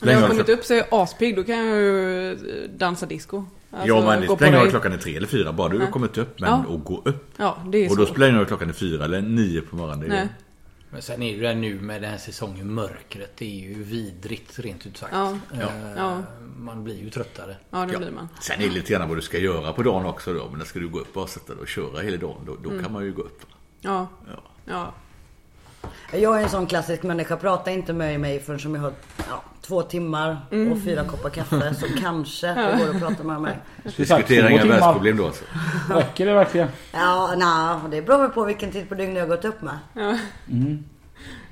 [SPEAKER 5] När
[SPEAKER 9] Länge
[SPEAKER 5] jag
[SPEAKER 9] har
[SPEAKER 5] har
[SPEAKER 9] du
[SPEAKER 5] kommit
[SPEAKER 9] klockan-
[SPEAKER 5] upp så är jag aspigg. Då kan jag ju eh, dansa disco. Alltså,
[SPEAKER 9] ja, men det
[SPEAKER 5] gå på
[SPEAKER 9] spelar ingen roll
[SPEAKER 5] rave.
[SPEAKER 9] om klockan är tre eller fyra. Bara du har kommit upp. Men
[SPEAKER 5] Ja.
[SPEAKER 9] att gå upp.
[SPEAKER 5] Ja, det är
[SPEAKER 9] Och då
[SPEAKER 5] svårt.
[SPEAKER 9] spelar det ingen roll om klockan är fyra eller nio på morgonen. Det är
[SPEAKER 5] Nej.
[SPEAKER 9] ju-
[SPEAKER 2] Men sen är det ju det nu med den här säsongen mörkret. Det är ju vidrigt rent ut sagt.
[SPEAKER 5] Ja.
[SPEAKER 2] Eh,
[SPEAKER 5] Ja.
[SPEAKER 2] Man blir ju tröttare.
[SPEAKER 5] Ja, det
[SPEAKER 9] Ja.
[SPEAKER 5] blir man.
[SPEAKER 9] Sen är det lite grann vad du ska göra på dagen också då. Men när ska du gå upp och sätta dig och köra hela dagen. Då,
[SPEAKER 5] Mm.
[SPEAKER 9] då kan man ju gå upp.
[SPEAKER 5] Ja.
[SPEAKER 9] Ja.
[SPEAKER 5] ja.
[SPEAKER 7] Jag är en sån klassisk människa. Prata inte med mig förrän som jag har ja, två timmar och fyra koppar kaffe. Så kanske det går att prata med mig.
[SPEAKER 9] Diskutera
[SPEAKER 4] Två
[SPEAKER 9] inga
[SPEAKER 4] timmar.
[SPEAKER 9] världsproblem då alltså.
[SPEAKER 4] Räcker det verkligen?
[SPEAKER 7] Ja, nej, det beror väl på vilken tid på dygnet jag har gått upp med.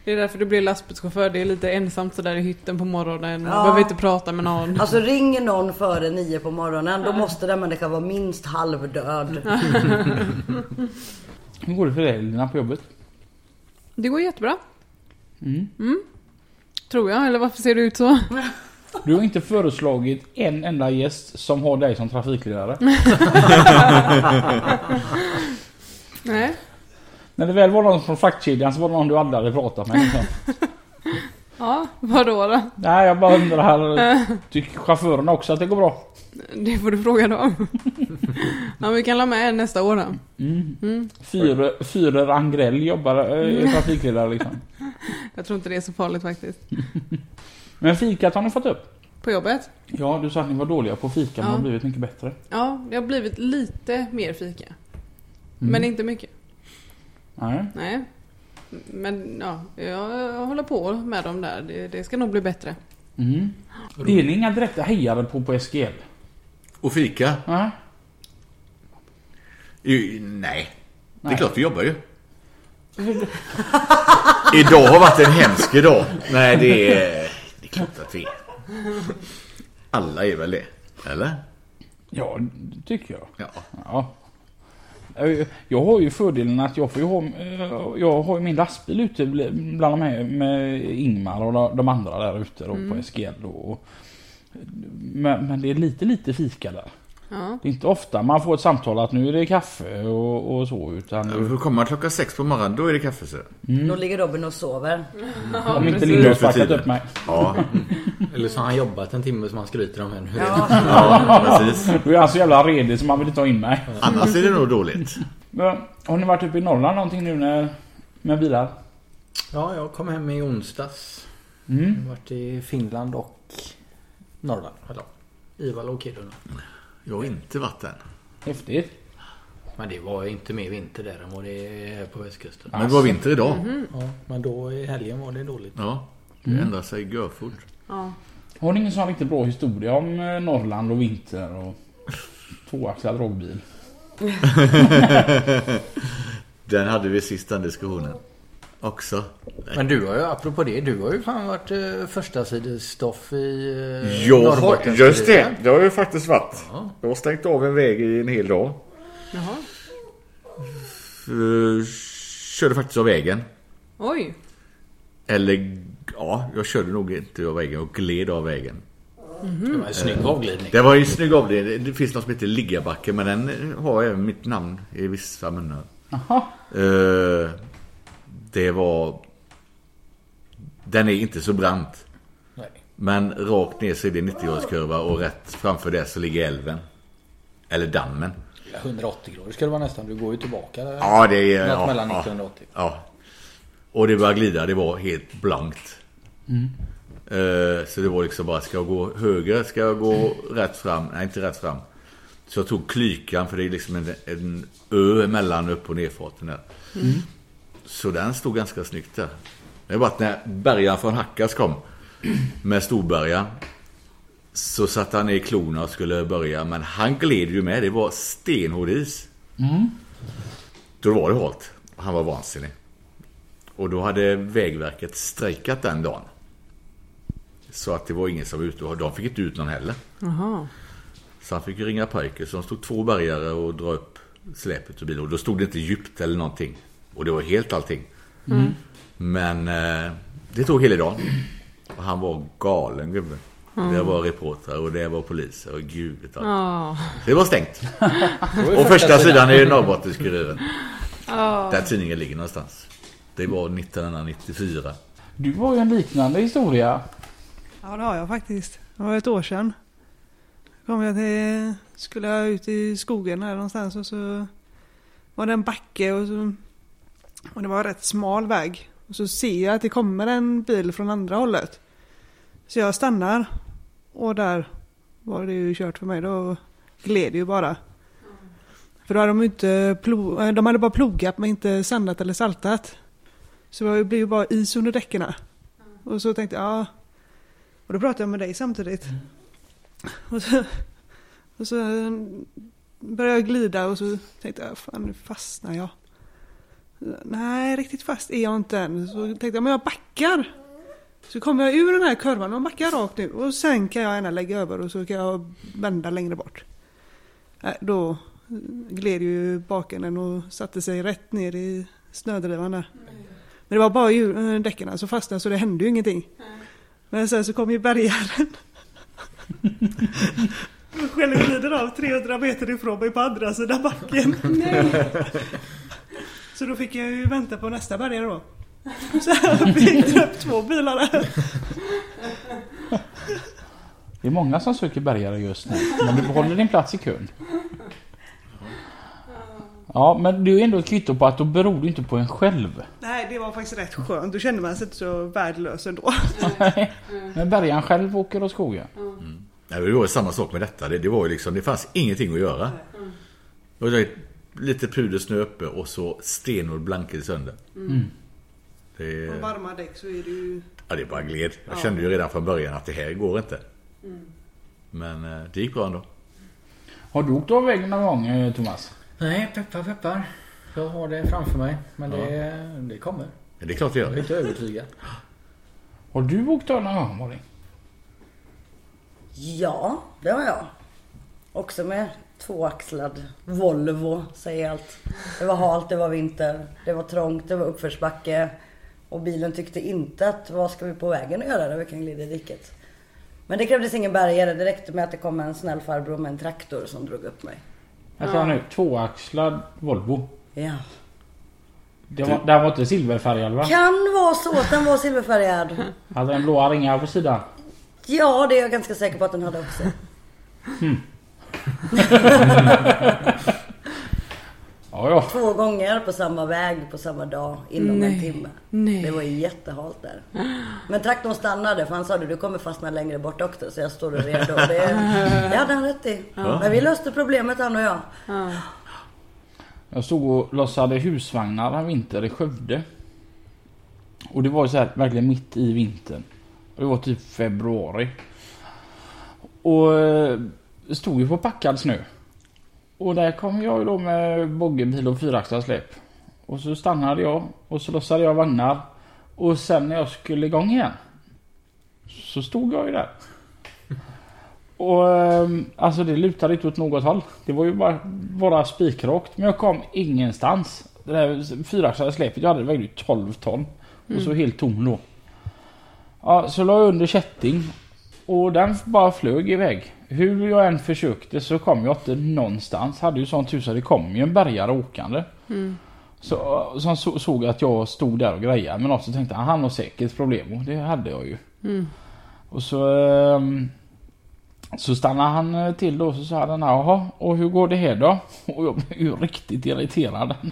[SPEAKER 5] Det är därför du blir lastbilschaufför. Det är lite ensamt sådär i hytten på morgonen. Man
[SPEAKER 7] Ja.
[SPEAKER 5] behöver inte prata med någon.
[SPEAKER 7] Alltså ringer någon före nio på morgonen då måste den människan vara minst halvdöd.
[SPEAKER 4] Hur går det för dig Lina på jobbet?
[SPEAKER 5] Det går jättebra. Mm. Tror jag, eller varför ser det ut så?
[SPEAKER 4] Du har inte föreslagit en enda gäst som har dig som trafikledare.
[SPEAKER 5] Nej.
[SPEAKER 4] När det väl var någon från fraktkedjan så var det någon du aldrig hade pratat med. Liksom.
[SPEAKER 5] Ja, vadå då?
[SPEAKER 4] Nej, jag bara undrar. Tycker chaufförerna också att det går bra?
[SPEAKER 5] Det får du fråga dem. ja, vi kan la med en nästa år då.
[SPEAKER 4] Mm. Fyre, Fyrer Angrell jobbar eh, är trafikledare liksom.
[SPEAKER 5] Jag tror inte det är så farligt faktiskt.
[SPEAKER 4] Men fikat har ni fått upp?
[SPEAKER 5] På jobbet?
[SPEAKER 4] Ja, du sa att ni var dåliga på fika men
[SPEAKER 5] Ja.
[SPEAKER 4] har blivit mycket bättre.
[SPEAKER 5] Ja, det har blivit lite mer fika.
[SPEAKER 9] Mm.
[SPEAKER 5] Men inte mycket.
[SPEAKER 4] Nej.
[SPEAKER 5] Nej. Men ja, jag håller på med dem där. Det, det ska nog bli bättre.
[SPEAKER 4] Mm. Det är ni inga direkta hejare på på SGL?
[SPEAKER 9] Och fika?
[SPEAKER 4] Nej.
[SPEAKER 9] I, nej. Det
[SPEAKER 4] Nej.
[SPEAKER 9] är klart vi jobbar ju. Idag har varit en hemsk dag. Nej det är... Det är klart att vi är. Alla är väl det. Eller?
[SPEAKER 4] Ja, det tycker jag.
[SPEAKER 9] Ja.
[SPEAKER 4] Ja. Eh, Jag har ju fördelen att jag får ju ha, eh, jag har ju min lastbil ute bl- bland de här med Ingmar och de- de andra där ute då på SGL. Och, och, men, men det är lite, lite fika där.
[SPEAKER 5] Ja.
[SPEAKER 4] Det är inte ofta man får ett samtal att nu är det kaffe och, och så utan
[SPEAKER 9] Vi får komma klockan sex på morgonen, då är det kaffe så.
[SPEAKER 7] Då ligger Robin och sover.
[SPEAKER 4] om inte
[SPEAKER 9] Nu
[SPEAKER 4] Linda har
[SPEAKER 9] för
[SPEAKER 4] sparkat
[SPEAKER 9] tiden.
[SPEAKER 4] upp mig.
[SPEAKER 9] Ja,
[SPEAKER 2] Eller så har han jobbat en timme som han skryter om här nu.
[SPEAKER 9] ja precis.
[SPEAKER 4] Då är han så jävla redig så man vill inte ha in mig.
[SPEAKER 9] Annars är det nog dåligt.
[SPEAKER 4] Men, har ni varit uppe i Norrland någonting nu när, med bilar?
[SPEAKER 2] Ja, jag kom hem i onsdags. Jag har varit i Finland och Norrland. Eller Ivala och Kiruna.
[SPEAKER 9] Jag har inte varit där.
[SPEAKER 4] Häftigt.
[SPEAKER 2] Men det var ju inte mer vinter där än vad det är här på västkusten.
[SPEAKER 9] Men det var vinter idag.
[SPEAKER 2] Ja, men då i helgen var det dåligt.
[SPEAKER 9] Ja. Mm-hmm. Det ändrar sig görfort.
[SPEAKER 5] Ja.
[SPEAKER 4] Har ni ingen sån riktigt bra historia om eh, Norrland och vinter och tvåaxlad dragbil?
[SPEAKER 9] Den hade vi sist den diskussionen. Också.
[SPEAKER 2] Men du har ju, apropå det, du har ju fan varit eh, första sidesstoff i eh,
[SPEAKER 9] Jag har,
[SPEAKER 2] Norrbottens-
[SPEAKER 9] just det, det har ju faktiskt varit. Jag har stängt av en väg i en hel dag.
[SPEAKER 5] Jaha.
[SPEAKER 9] Eh, Körde faktiskt av vägen.
[SPEAKER 5] Oj.
[SPEAKER 9] Eller ja, jag körde nog inte av vägen och gled av vägen.
[SPEAKER 2] Det var en
[SPEAKER 4] Eh.
[SPEAKER 2] snygg avglidning.
[SPEAKER 9] Det var ju en snygg avdelning. Det finns något som heter Liggabacke men den har även mitt namn i vissa munnar.
[SPEAKER 4] Jaha.
[SPEAKER 9] Eh, det var... Den är inte så brant.
[SPEAKER 2] Nej.
[SPEAKER 9] Men rakt ner så är det 90-gradskurva och rätt framför det så ligger älven. Eller dammen.
[SPEAKER 2] 180 grader ska det vara nästan. Du går ju tillbaka. där.
[SPEAKER 9] Ja, det är...
[SPEAKER 2] Något
[SPEAKER 9] Ja,
[SPEAKER 2] mellan
[SPEAKER 9] ja,
[SPEAKER 2] 90 och 180.
[SPEAKER 9] Ja. Och det började glida. Det var helt blankt. Eh, så det var liksom bara, ska jag gå höger? Ska jag gå rätt fram? Nej, inte rätt fram. Så jag tog klykan, för det är liksom en, en ö mellan upp och nerfarten där. Så den stod ganska snyggt där. Det var att när bärgaren från Hackas kom med storbärgaren så satte han ner klorna och skulle börja men han gled ju med. Det var stenhård is. Då var det halt. Han var vansinnig. Och då hade Vägverket strejkat den dagen. Så att det var ingen som var ute och de fick inte ut någon heller.
[SPEAKER 5] Jaha.
[SPEAKER 9] Så han fick ju ringa Pajker. Så de stod två bärgare och dra upp släpet ur bilen. Och då stod det inte djupt eller någonting. Och det var helt allting.
[SPEAKER 5] Mm.
[SPEAKER 9] Men eh, det tog hela dagen. Och han var galen gubben. Det var reportrar och det var poliser och gud vet allt.
[SPEAKER 5] Ja.
[SPEAKER 9] Det var stängt.
[SPEAKER 2] Då är
[SPEAKER 9] Och första sidan är ju Norrbottens-Kuriren. Där tidningen ligger någonstans. Det var 1994.
[SPEAKER 4] Du har ju en liknande historia.
[SPEAKER 6] Ja, det har jag faktiskt. Det var ett år sedan. Kom jag till, skulle jag ut i skogen här någonstans och så var det en backe och, så, och det var en rätt smal väg. Och så ser jag att det kommer en bil från andra hållet. Så jag stannar och där var det ju kört för mig. Då gled ju bara. För då hade de ju inte plo, eh, de hade bara plogat men inte sandat eller saltat. Så det blev ju bara is under däcken. Och så tänkte jag, ja och då pratade jag med dig samtidigt. Och så, och så började jag glida och så tänkte jag, fan nu fastnar jag. Nej, riktigt fast är jag inte än. Så tänkte jag, men jag backar. Så kommer jag ur den här kurvan, man backar rakt nu och sen kan jag gärna lägga över och så kan jag vända längre bort. Nej, Då gled ju bakänden och satte sig rätt ner i snödrivan där. Men det var bara hjul- eh, däcken som fastnade så det hände ju ingenting. Men sen så kom ju bärgaren. Och Själv glider av 300 meter ifrån mig på andra sidan backen. Så då fick jag ju vänta på nästa bärgare då. Så jag fick upp två bilar där.
[SPEAKER 4] Det är många som söker bärgare just nu. Men du behåller din plats i kön. Ja, men du är ändå ett kvitto på att då beror du inte på en själv.
[SPEAKER 6] Nej, det var faktiskt rätt skönt. Då kände man sig inte så värdelös ändå.
[SPEAKER 4] Men bärgaren själv åker åt skogen.
[SPEAKER 9] Nej, men Det var ju samma sak med detta. Det, det var ju liksom, det fanns ingenting att göra. Och det, var lite pudersnö uppe och så stenhård blankade sönder. Det,
[SPEAKER 6] Med varma däck så är det ju...
[SPEAKER 9] ja, det bara gled. Jag kände ju redan från början att det här går inte. Men eh, det gick bra ändå.
[SPEAKER 4] Har du åkt av vägen någon gång, eh, Thomas?
[SPEAKER 2] Nej, peppar peppar. Jag har det framför mig. Men det, det kommer.
[SPEAKER 9] Men det är klart det gör
[SPEAKER 2] Jag är
[SPEAKER 9] det.
[SPEAKER 2] inte övertygad.
[SPEAKER 4] Har du åkt av någon gång, Malin?
[SPEAKER 7] Ja, det har jag. Också med tvåaxlad Volvo, säger allt. Det var halt, det var vinter, det var trångt, det var uppförsbacke. Och bilen tyckte inte att, vad ska vi på vägen att göra då? Vi kan glida i diket. Men det krävdes ingen bärgare, det räckte med att det kom en snäll farbror med en traktor som drog upp mig.
[SPEAKER 4] Vänta nu, tvåaxlad Volvo.
[SPEAKER 7] Ja.
[SPEAKER 4] Det var, den var inte silverfärgad va?
[SPEAKER 7] Kan vara så att den var silverfärgad.
[SPEAKER 4] Hade den blåa ringar på sidan?
[SPEAKER 7] Ja, det är jag ganska säker på att den hade också.
[SPEAKER 4] Ja, ja.
[SPEAKER 7] Två gånger på samma väg på samma dag inom en
[SPEAKER 5] Nej.
[SPEAKER 7] timme.
[SPEAKER 5] Nej.
[SPEAKER 7] Det var jättehalt där. Men traktorn stannade för han sa det, du kommer fastna längre bort också så jag står redo. Det, det hade han rätt i. Men vi löste problemet han och jag.
[SPEAKER 4] Jag stod och lossade husvagnar en vinter i Skövde. Och det var ju så här, verkligen mitt i vintern. Och det var typ februari. Och eh, stod ju på packad snö. Och där kom jag ju då med boggebil och fyraxlad släp. Och så stannade jag och så lossade jag vagnar. Och sen när jag skulle igång igen. Så stod jag ju där. Och ehm, alltså det lutade inte åt något håll. Det var ju bara, bara spikrakt. Men jag kom ingenstans. Det där fyraxlade släpet jag hade det vägde ju 12 ton. Och så helt tom då. Ja, så la jag under kätting. Och den bara flög iväg. Hur jag än försökte så kom jag inte någonstans. Hade ju sån tur så det kom ju en bärgare åkande. Så, så han så, såg att jag stod där och grejade men också tänkte han han har säkert problem och det hade jag ju. Och så ehm, så stannade han eh, till då och så sa han jaha och hur går det här då? Och jag blev ju riktigt irriterad.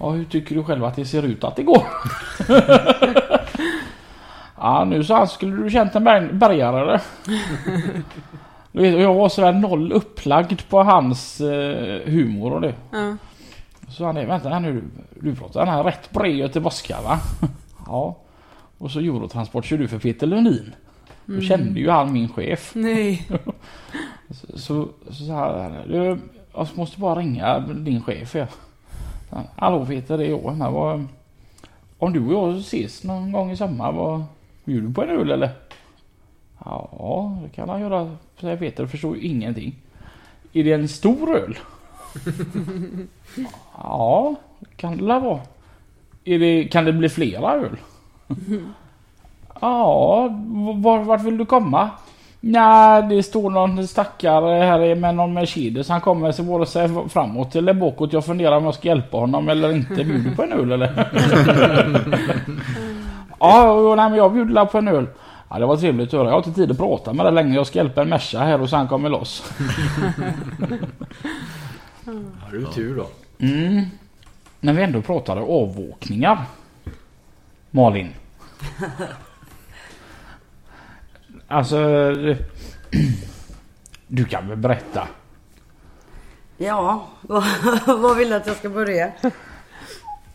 [SPEAKER 4] Ja, hur tycker du själv att det ser ut att det går? ja nu sa han skulle du känt en berg- bärgare eller? Du vet, och jag var sådär noll upplagd på hans eh, humor och det.
[SPEAKER 5] Ja.
[SPEAKER 4] Så han är, vänta här nu, du pratar han är rätt bred göteborgska va? Ja. Och så Eurotransport kör du för Peter Lundin. Då kände ju han min chef.
[SPEAKER 5] Nej.
[SPEAKER 4] Så, så, så sa han, du, jag måste bara ringa din chef ja. Så han, Hallå Peter, det är jag här. Vad, om du och jag ses någon gång i sommar, vad bjuder du på en öl eller? Ja, det kan han göra, säger Peter och förstår ju ingenting. Är det en stor öl? Ja, kan det väl vara. Är det, kan det bli flera öl? Ja, v- var, vart vill du komma? Nej, det står någon stackare här med någon Mercedes. Han kommer sig vare sig framåt eller bakåt. Jag funderar om jag ska hjälpa honom eller inte. Bjuder du på en öl eller? ja, jo, nej, men jag bjuder på en öl. Ja, det var trevligt att höra. Jag har inte tid att prata med dig länge. Jag ska hjälpa en Merca här och sen kommer loss.
[SPEAKER 2] Har du tur då?
[SPEAKER 4] Mm. När vi ändå pratade avåkningar. Malin. Alltså... Du kan väl berätta?
[SPEAKER 7] Ja, vad, vad vill du att jag ska börja?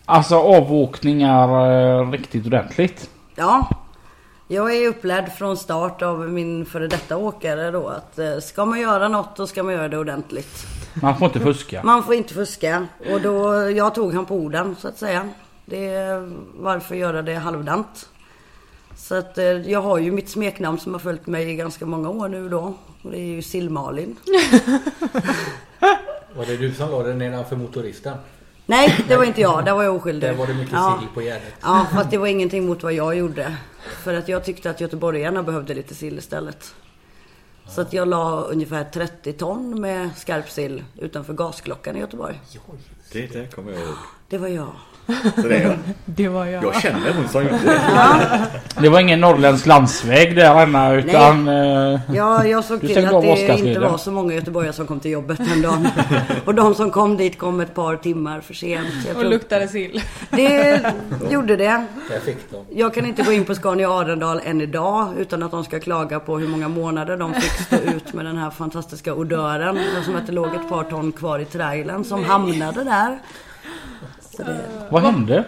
[SPEAKER 4] Alltså avåkningar eh, riktigt ordentligt.
[SPEAKER 7] Ja, jag är upplärd från start av min före detta åkare då att eh, ska man göra något då ska man göra det ordentligt.
[SPEAKER 4] Man får inte fuska.
[SPEAKER 7] Man får inte fuska och då, jag tog han på orden så att säga. Det, varför göra det halvdant? Så att eh, jag har ju mitt smeknamn som har följt mig i ganska många år nu då. Och det är ju Sill-Malin.
[SPEAKER 2] Var det du som la den nedanför motoristen?
[SPEAKER 7] Nej, det var inte jag. Där var jag oskyldig.
[SPEAKER 2] Där var det mycket
[SPEAKER 7] Ja.
[SPEAKER 2] sill på gärdet.
[SPEAKER 7] Ja, fast det var ingenting mot vad jag gjorde. För att jag tyckte att göteborgarna behövde lite sill istället. Så att jag la ungefär 30 ton med skarp sill utanför gasklockan i Göteborg.
[SPEAKER 8] Det, det kommer jag ihåg.
[SPEAKER 7] Det var jag.
[SPEAKER 8] Så det är jag.
[SPEAKER 1] Det var jag.
[SPEAKER 8] jag känner hon som gjorde det.
[SPEAKER 4] Det var ingen norrländsk landsväg där Anna utan... eh,
[SPEAKER 7] Ja, jag såg
[SPEAKER 4] Du
[SPEAKER 7] till
[SPEAKER 4] stängde
[SPEAKER 7] att
[SPEAKER 4] av
[SPEAKER 7] det
[SPEAKER 4] Oscarsleden.
[SPEAKER 7] inte var så många göteborgare som kom till jobbet den dagen. Och de som kom dit kom ett par timmar för sent. Jag
[SPEAKER 5] Och
[SPEAKER 7] tror-
[SPEAKER 5] luktade sill.
[SPEAKER 7] Det gjorde det.
[SPEAKER 2] Där fick de.
[SPEAKER 7] Jag kan inte gå in på Scania Arendal än idag utan att de ska klaga på hur många månader de fick stå ut med den här fantastiska odören. Det som att det låg ett par ton kvar i trailern som hamnade där.
[SPEAKER 4] Vad hände?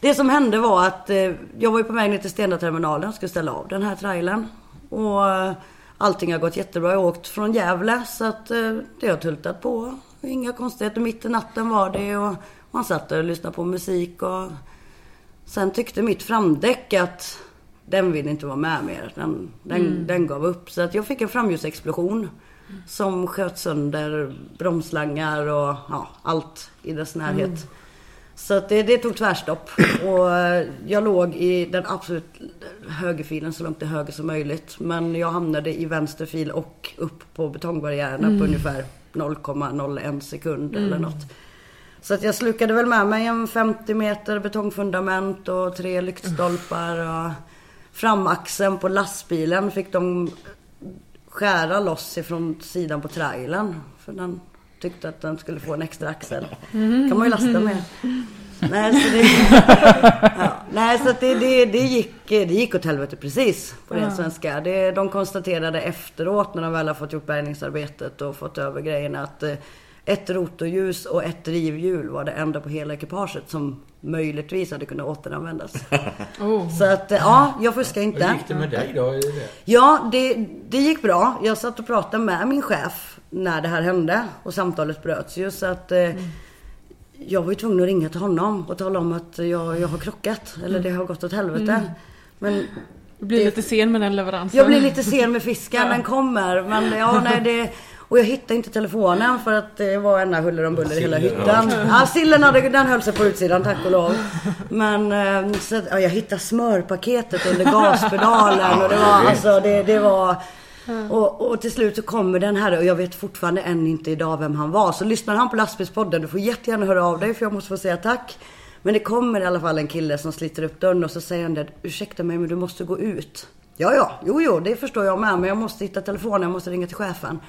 [SPEAKER 7] Det som hände var att eh, jag var ju på väg ner till Stena-terminalen och skulle ställa av den här trailern. Och eh, allting har gått jättebra. Jag har åkt från Gävle så att eh, det har tultat på. Inga konstigheter. Mitt i natten var det och man satt där och lyssnade på musik och Sen tyckte mitt framdäck att den vill inte vara med mer. Den, den, den gav upp. Så att jag fick en framljusexplosion som sköt sönder bromsslangar och ja, allt i dess närhet. Så att det, det tog tvärstopp och eh, jag låg i den absolut högerfilen så långt till höger som möjligt. Men jag hamnade i vänster fil och upp på betongbarriärerna på ungefär 0,01 sekund eller något. Så att jag slukade väl med mig en 50 meter betongfundament och tre lyktstolpar. Och framaxeln på lastbilen fick de skära loss ifrån sidan på trailern. För den tyckte att den skulle få en extra axel. kan man ju lasta med. Nej, så det, ja, nej, så att det, det, det, gick, det gick åt helvete precis på ren svenska. Det, de konstaterade efteråt när de väl har fått gjort bärgningsarbetet och fått över grejerna att eh, ett rotorljus och ett drivhjul var det enda på hela ekipaget som möjligtvis hade kunnat återanvändas. Så att eh, ja, jag fuskar inte.
[SPEAKER 2] Hur gick det med dig då?
[SPEAKER 7] Ja, det, det gick bra. Jag satt och pratade med min chef när det här hände och samtalet bröts ju så att eh, jag var ju tvungen att ringa till honom och tala om att jag, jag har krockat. Eller det har gått åt helvete. Men
[SPEAKER 5] Du blir lite sen med den leveransen.
[SPEAKER 7] jag blir lite sen med fisken, den kommer. Men ja, nej det... Och jag hittade inte telefonen för att det var ena huller om buller i hela hyttan. Ja, sillen hade, den höll sig på utsidan tack och lov. Men eh, så, att- ja, jag hittade smörpaketet under gaspedalen och det var alltså det, det var... Och, och till slut så kommer den här och jag vet fortfarande än inte idag vem han var. Så lyssnar han på lastbilspodden, du får jättegärna höra av dig för jag måste få säga tack. Men det kommer i alla fall en kille som sliter upp dörren och så säger han det, ursäkta mig men du måste gå ut. Ja, ja, jo, jo, det förstår jag med, men jag måste hitta telefonen, jag måste ringa till chefen.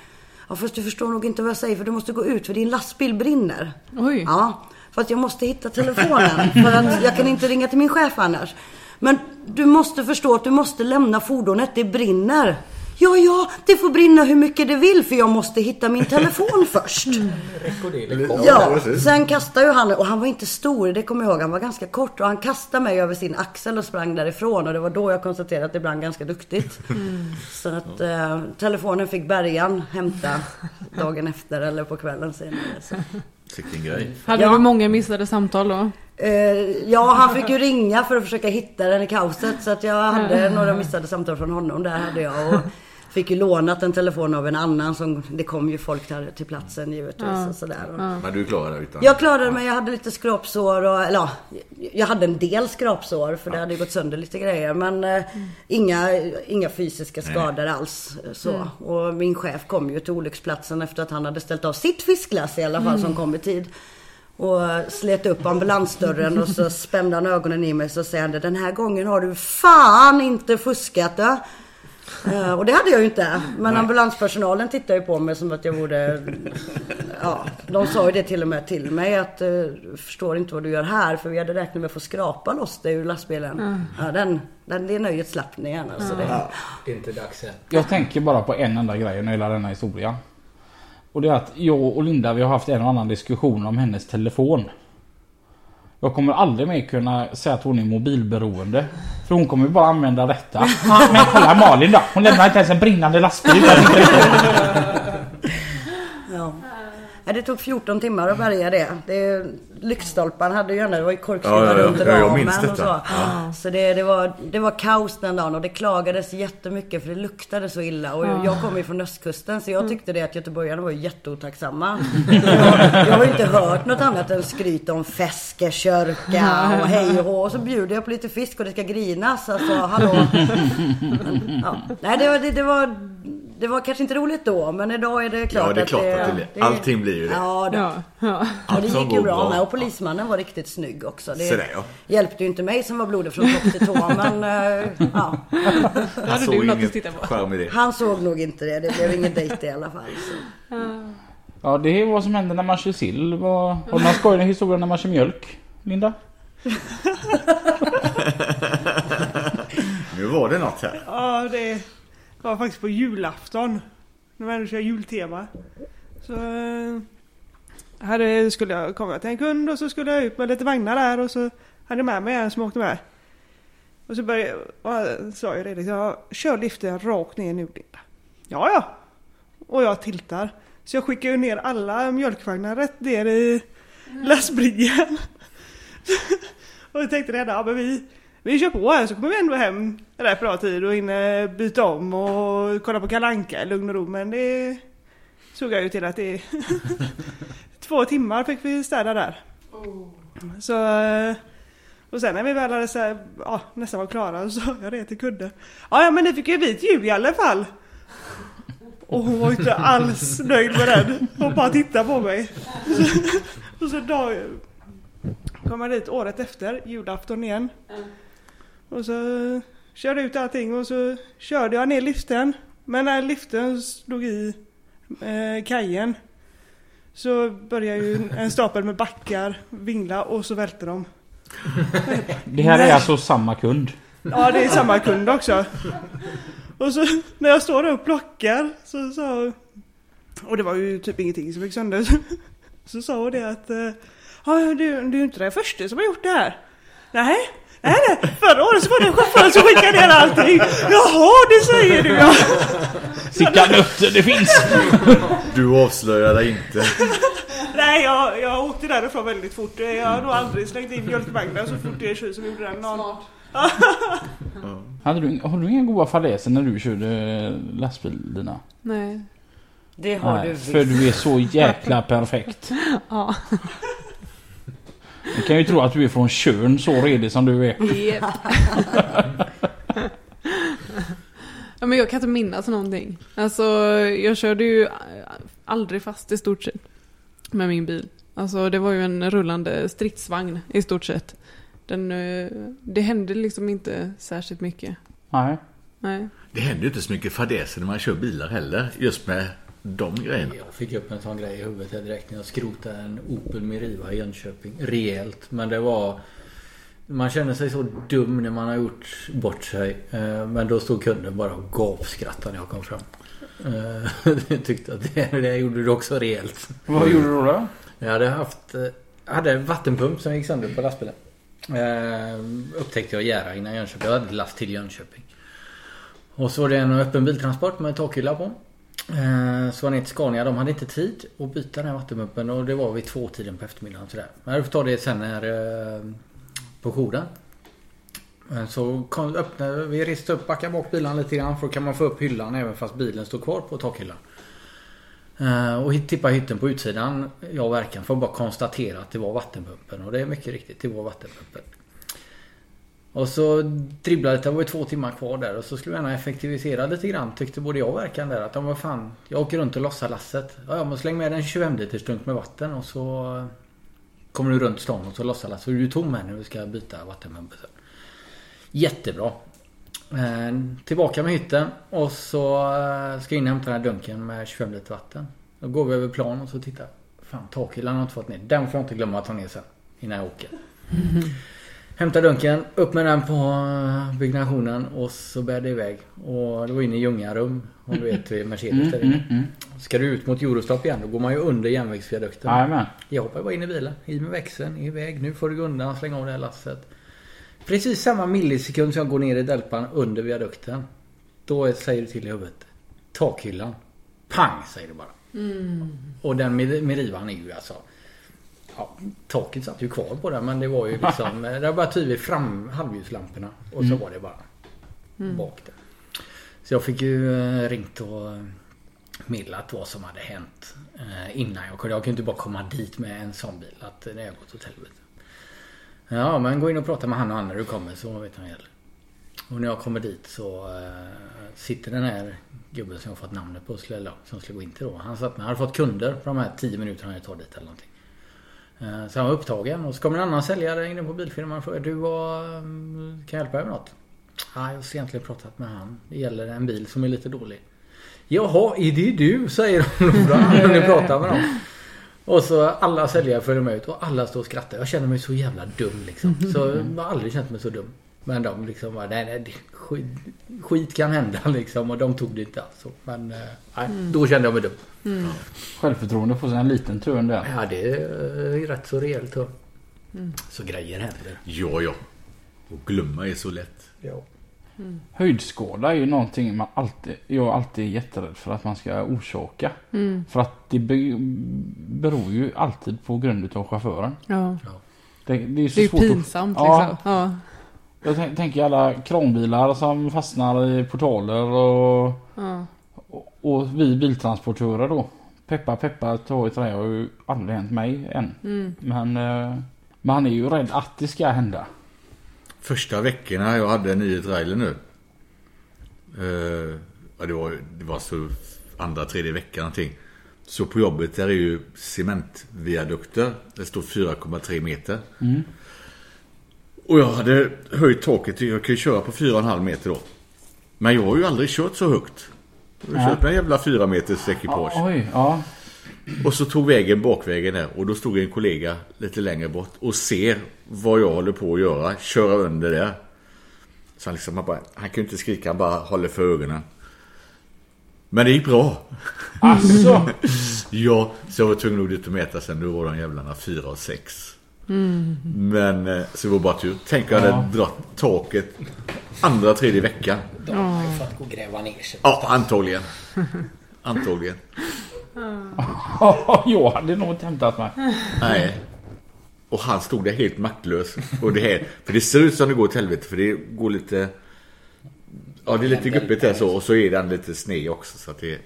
[SPEAKER 7] Ja, fast du förstår nog inte vad jag säger för du måste gå ut för din lastbil brinner.
[SPEAKER 5] Oj.
[SPEAKER 7] Ja, för att jag måste hitta telefonen för att jag kan inte ringa till min chef annars. Men du måste förstå att du måste lämna fordonet, det brinner. Ja, ja, det får brinna hur mycket det vill för jag måste hitta min telefon först. Ja, sen kastade ju han, och han var inte stor, det kommer jag ihåg. Han var ganska kort och han kastade mig över sin axel och sprang därifrån. Och det var då jag konstaterade att det brann ganska duktigt. Så att eh, telefonen fick bärgaren hämta dagen efter eller på kvällen senare. Så.
[SPEAKER 9] Vilken grej.
[SPEAKER 5] Hade
[SPEAKER 7] Ja.
[SPEAKER 5] du många missade samtal då?
[SPEAKER 7] Eh, ja, han fick ju ringa för att försöka hitta den i kaoset. Så att jag hade några missade samtal från honom. Där hade jag. Och fick ju lånat en telefon av en annan. Som, det kom ju folk där till platsen givetvis. Och sådär. Och,
[SPEAKER 9] Men du klarar det utan?
[SPEAKER 7] Jag klarade mig. Jag hade lite skrapsår och, eller ja, jag hade en del skrapsår för det hade ju gått sönder lite grejer. Men eh, inga, inga fysiska skador alls. eh, Så. Och min chef kom ju till olycksplatsen efter att han hade ställt av sitt fiskglass i alla fall som kom i tid. Och eh, slet upp ambulansdörren och så spände han ögonen i mig så säger han den här gången har du fan inte fuskat det. Eh, Och det hade jag ju inte. Men ambulanspersonalen tittade ju på mig som att jag vore... Ja, de sa ju det till och med till mig att eh, förstår inte vad du gör här för vi hade räknat med att få skrapa loss det ur lastbilen. Ja, den, den, det nöjet slapp ni gärna. Så det,
[SPEAKER 2] Det är inte dags än.
[SPEAKER 4] Jag tänker bara på en enda grej när hela denna historia. Och det är att jag och Linda vi har haft en och annan diskussion om hennes telefon. Jag kommer aldrig mer kunna säga att hon är mobilberoende. För hon kommer ju bara använda detta. Men kolla Malin då. Hon lämnar inte ens en brinnande lastbil.
[SPEAKER 7] ja. Ja, det tog 14 timmar att bärga det. det Lyktstolparna hade ju gärna, det var ju korkskruvar
[SPEAKER 9] Ja, ja, ja.
[SPEAKER 7] runt
[SPEAKER 9] Ja, jag
[SPEAKER 7] ramen
[SPEAKER 9] minns
[SPEAKER 7] och
[SPEAKER 9] detta.
[SPEAKER 7] så. Så det, det, var, det var kaos den dagen och det klagades jättemycket för det luktade så illa. Och jag, jag kommer ju från östkusten så jag tyckte det att göteborgarna var jätteotacksamma. Jag, jag har ju inte hört något annat än skryt om feskekörka och hej och hå. Och så bjuder jag på lite fisk och det ska grinas. Alltså hallå. Men, ja. Nej det var, det, det var det var kanske inte roligt då men idag är det klart,
[SPEAKER 9] Ja, det är klart att det blir- allting blir ju det.
[SPEAKER 7] Ja, det,
[SPEAKER 5] Ja. ja.
[SPEAKER 7] och det
[SPEAKER 9] Allt som
[SPEAKER 7] gick ju
[SPEAKER 9] går
[SPEAKER 7] bra
[SPEAKER 9] bra.
[SPEAKER 7] med och polismannen var riktigt snygg också. Det
[SPEAKER 9] Så där, ja.
[SPEAKER 7] hjälpte ju inte mig som var blodig från topp till tå men eh, ja.
[SPEAKER 5] Det
[SPEAKER 9] Han
[SPEAKER 5] hade
[SPEAKER 9] såg
[SPEAKER 5] du något att titta
[SPEAKER 9] ingen
[SPEAKER 5] på.
[SPEAKER 9] charm i det.
[SPEAKER 7] Han såg nog inte det. Det blev ingen dejt i alla fall. Så.
[SPEAKER 4] Ja det är vad som händer när man kör sill. Vad- Har du någon skojig historia när man kör mjölk? Linda?
[SPEAKER 9] Nu var det något här.
[SPEAKER 6] Ja, det var faktiskt på julafton. När man ändå kör jultema. Så eh, hade, skulle jag komma till en kund och så skulle jag ut med lite vagnar där och så hade jag med mig en som åkte med. Och så började och han sa ju det liksom, "Ja, kör liften rakt ner nu Linda. Ja, ja. Och jag tiltar. Så jag skickar ju ner alla mjölkvagnar rätt ner i lastbryggan. och jag tänkte redan, ja men vi, vi kör på här så kommer vi ändå hem rätt bra tid och hinner byta om och kolla på Kalle Anka i lugn och ro. Men det såg jag ju till att det... Två timmar fick vi städa där. Så... eh, Och sen när vi väl hade så här, ja, nästan var klara så sa jag det till kudden. Ja, ja men ni fick ju vit jul i alla fall. Och hon var ju inte alls nöjd med den. Hon bara tittade på mig. Så, och så dag, kom jag dit året efter, julafton igen. Och så körde jag ut allting och så körde jag ner liften. Men när liften slog i eh, kajen så började ju en stapel med backar vingla och så välte de.
[SPEAKER 4] Det här är alltså samma kund.
[SPEAKER 6] Ja, det är samma kund också. Och så när jag står där och plockar så sa Och det var ju typ ingenting som gick sönder. Så sa hon det att eh, Ja, du, du är ju inte den första som har gjort det här. Nej, nej, nej. Förra året så var det chauffören som skickade ner allting. Jaha, det säger du ja.
[SPEAKER 4] Sickan nötter, det finns!
[SPEAKER 9] Du avslöjar dig inte.
[SPEAKER 6] Nej, Nej, jag, jag åkte därifrån väldigt fort. Jag har nog aldrig slängt in mjölkvagnen så fort det är tjuv som gjorde den dagen.
[SPEAKER 4] Hade du, har du inga goda fadäser när du körde lastbil Lina?
[SPEAKER 5] Nej.
[SPEAKER 7] Det har
[SPEAKER 4] Nej,
[SPEAKER 7] du visst.
[SPEAKER 4] för du är så jäkla perfekt.
[SPEAKER 5] Ja.
[SPEAKER 4] Jag kan ju tro att du är från Tjörn så redig som du är.
[SPEAKER 5] Yep. ja, men jag kan inte minnas någonting. Alltså, jag körde ju eh, aldrig fast i stort sett med min bil. Alltså, det var ju en rullande stridsvagn i stort sett. Den, eh, det hände liksom inte särskilt mycket.
[SPEAKER 4] Nej.
[SPEAKER 5] Nej.
[SPEAKER 9] Det händer ju inte så mycket fadäser när man kör bilar heller. Just med de grejerna.
[SPEAKER 2] Jag fick upp en sån grej i huvudet här direkt när jag skrotade en Opel Meriva i Jönköping. Rejält. Men det var... Man känner sig så dum när man har gjort bort sig. Eh, Men då stod kunden bara och gapskrattade när jag kom fram. Eh, Jag tyckte att det, det gjorde du också rejält.
[SPEAKER 4] Vad gjorde du då?
[SPEAKER 2] Jag hade haft... eh, Jag hade en vattenpump som gick sönder på lastbilen. Eh, upptäckte jag i Jära innan Jönköping. Jag hade last till Jönköping. Och så var det en öppen biltransport med takhylla på. Eh, så var ner till Scania. De hade inte tid att byta den här vattenpumpen och det var vid tvåtiden på eftermiddagen. Sådär. Men jag får ta det sen när... Eh, på jouren. Men så kom, öppnade, vi reste upp, backade bak bilen lite grann för då kan man få upp hyllan även fast bilen står kvar på takhyllan. Eh, Och hit- tippade hytten på utsidan, jag och Verkan, för att bara konstatera att det var vattenpumpen. Och det är mycket riktigt, det var vattenpumpen. Och så dribblade det, det var ju två timmar kvar där och så skulle jag gärna effektivisera lite grann tyckte både jag och Verkan där att ja, vad fan, jag åker runt och lossar lasset. Ja, ja men släng med en 25 liters dunk med vatten och så eh, kommer du runt stan och så lossar lasset. Så är du tom här när vi ska byta vattenpumpen sen. Jättebra. Eh, Tillbaka med hytten och så eh, ska jag in och hämta den här dunken med 25 liter vatten. Då går vi över plan och så tittar jag. Fan takhyllan har jag inte fått ner. Den får jag inte glömma att ta ner sen. Innan jag åker. Hämtar dunken, upp med den på eh, byggnationen och så bär det iväg. Och det var inne i Ljungarum. Om du vet vid Mercedes där inne. Ska du ut mot Eurostop igen då går man ju under järnvägsviadukten.
[SPEAKER 4] Jajamän.
[SPEAKER 2] Jag hoppar bara in i bilen, i med växeln, iväg. Nu får du gå undan, släng av det här lasset. Precis samma millisekund som jag går ner i delpan under viadukten. Då är- säger det till i huvudet. Takhyllan. Pang säger det bara. Och den med, med rivan är ju alltså... Ja, taket satt ju kvar på den men det var ju liksom... det var bara tydligt fram halvljuslamporna. Och så var det bara bak där. Så jag fick ju eh, ringt och eh, meddelat vad som hade hänt. eh, Innan jag kunde. Jag kunde inte bara komma dit med en sån bil. Att eh, det har gått åt helvete. Ja, men gå in och prata med han och han när du kommer så vet han gäller. Och när jag kommer dit så eh, sitter den här gubben som jag fått namnet på skulle, eller, som skulle gå in till då. Han satt med, han hade fått kunder på de här 10 minuterna jag tar dit eller någonting. Eh, så han var upptagen och så kommer en annan säljare in på bilfirman och frågar du vad, eh, kan jag hjälpa dig med något? Ja, jag har egentligen pratat med han. Det gäller en bil som är lite dålig. Jaha, är det du? Säger de då. när ni pratar med dem. Och så alla säljare följer med ut och alla står och skrattar. Jag känner mig så jävla dum liksom. Så jag har aldrig känt mig så dum. Men de liksom bara, nej nej, det- skit, skit kan hända liksom. Och de tog det inte alls så. Men eh, nej, då kände jag mig dum.
[SPEAKER 4] Självförtroende får sig en liten törn där.
[SPEAKER 2] Ja, det är eh, rätt så rejält då. Så grejer händer.
[SPEAKER 9] Ja, ja. Och glömma är så lätt.
[SPEAKER 4] Höjdskada är ju någonting man alltid, jag alltid är jätterädd för att man ska orsaka.
[SPEAKER 5] Mm.
[SPEAKER 4] För att det be, beror ju alltid på grund utav chauffören.
[SPEAKER 5] Ja.
[SPEAKER 4] Det, det är ju så
[SPEAKER 5] Det är ju
[SPEAKER 4] svårt att
[SPEAKER 5] pinsamt
[SPEAKER 4] Ja.
[SPEAKER 5] liksom. Ja.
[SPEAKER 4] Jag tän- tänker alla kranbilar som fastnar i portaler och,
[SPEAKER 5] Ja.
[SPEAKER 4] och, och vi biltransportörer då. Peppa peppa ta i trä har ju aldrig hänt mig än. Men eh, man är ju rädd att det ska hända.
[SPEAKER 9] Första veckorna jag hade en i trailer nu. Eh, ja, det, var, det var så andra, tredje veckan någonting. Så på jobbet där är ju cementviadukter. Det står 4,3 meter. Och jag hade höjt taket. till- Jag kan ju köra på 4,5 meter då. Men jag har ju aldrig kört så högt. Jag har kört med en jävla 4 meters ekipage.
[SPEAKER 4] Oj, ja.
[SPEAKER 9] Och så tog vägen bakvägen där och då stod en kollega lite längre bort och ser vad jag håller på att göra, köra under där. Så han liksom, han, bara, han kunde inte skrika, han bara håller för ögonen. Men det gick bra.
[SPEAKER 4] Alltså,
[SPEAKER 9] Ja, så jag var tvungen att gå dit och mäta sen, då var de jävlarna fyra och sex. Men eh, så det var bara tur. Tänk om jag hade dragit taket andra, tredje veckan.
[SPEAKER 2] De har ju fått gå och gräva ner sig.
[SPEAKER 9] Ja, antagligen. Antagligen.
[SPEAKER 4] jag hade nog inte hämtat mig.
[SPEAKER 9] Nej. Och han stod där helt maktlös. Och det här, för det ser ut som det går till helvete för det går lite... Ja, det är lite guppigt där så och så är den lite sned också så att det...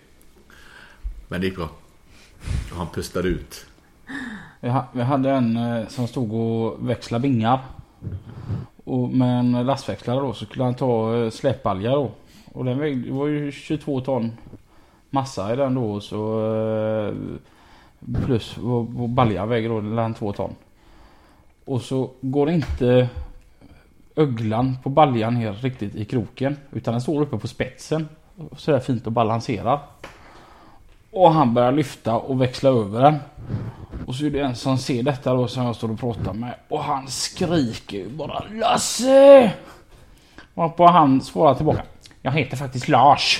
[SPEAKER 9] Men det gick bra. Och han pustade ut.
[SPEAKER 4] Vi ha- Vi hade en eh, som stod och växlade vingar. Och med en lastväxlare då så skulle han ta eh, släpbalja då. Och den vägde, det var ju 22 ton massa i den då. och Så, eh, plus vår vår balja väger då den 2 ton. Och så går inte öglan på baljan ner riktigt i kroken. Utan den står uppe på spetsen. Sådär fint och balanserar. Och han börjar lyfta och växla över den. Och så är det en som ser detta då som jag står och pratar med och han skriker ju bara Lasse! Varpå han svarar tillbaka Jag heter faktiskt Lars.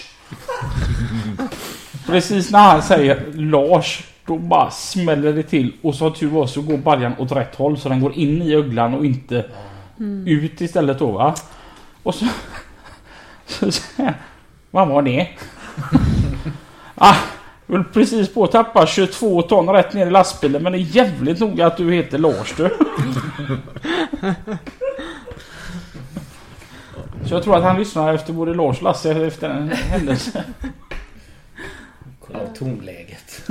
[SPEAKER 4] Precis när han säger Lars då bara smäller det till och som tur var så går baljan åt rätt håll så den går in i öglan och inte ut istället då va. Och så... så säger han, Vad var det? ah, jag höll precis på att tappa 22 ton rätt ner i lastbilen men det är jävligt noga att du heter Lars du. Så jag tror att han lyssnar efter både Lars och Lasse efter den händelsen.
[SPEAKER 10] Kolla av tonläget.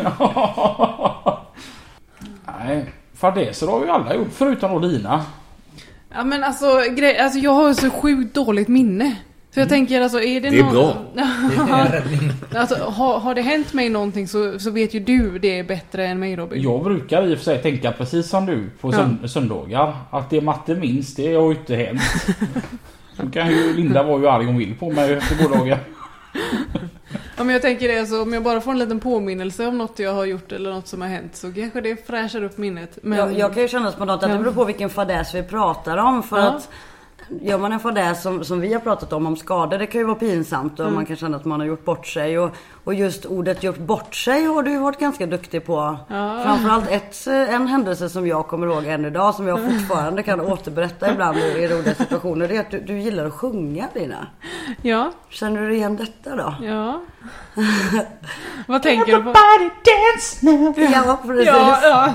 [SPEAKER 4] Nej, fadäser har ju alla gjort förutom då Lina.
[SPEAKER 1] Ja men alltså, grej, alltså jag har så sjukt dåligt minne. Så
[SPEAKER 5] Mm.
[SPEAKER 1] jag tänker alltså, är det
[SPEAKER 9] Det är
[SPEAKER 1] någon...
[SPEAKER 9] bra.
[SPEAKER 1] alltså, har, har det hänt mig någonting så, så vet ju du det bättre än mig Robin.
[SPEAKER 4] Jag brukar i och för sig tänka precis som du på sönd- söndagar. Att det matte minst, det har ju inte hänt. Så kan ju Linda vara ju arg hon vill på mig efter gårdagen.
[SPEAKER 1] Ja, men jag tänker det, så om jag bara får en liten påminnelse om något jag har gjort eller något som har hänt så kanske det fräschar upp minnet. Men
[SPEAKER 7] Jag, jag kan ju känna spontant att det
[SPEAKER 1] Ja.
[SPEAKER 7] beror på vilken fadäs vi pratar om. För
[SPEAKER 1] Ja.
[SPEAKER 7] att gör man en fadäs som, som vi har pratat om, om skador, det kan ju vara pinsamt
[SPEAKER 1] Mm.
[SPEAKER 7] och man kan känna att man har gjort bort sig. Och, och just ordet gjort bort sig har du ju varit ganska duktig på. Framförallt ett, en händelse som jag kommer ihåg än idag som
[SPEAKER 1] Mm.
[SPEAKER 7] jag fortfarande kan återberätta ibland i i roliga situationer. Det är att du, du gillar att sjunga Lina.
[SPEAKER 1] ja,
[SPEAKER 7] Känner du igen detta då?
[SPEAKER 1] ja. Vad tänker du på?
[SPEAKER 7] Ja, precis.
[SPEAKER 1] Ja,
[SPEAKER 7] Ja,
[SPEAKER 1] ja.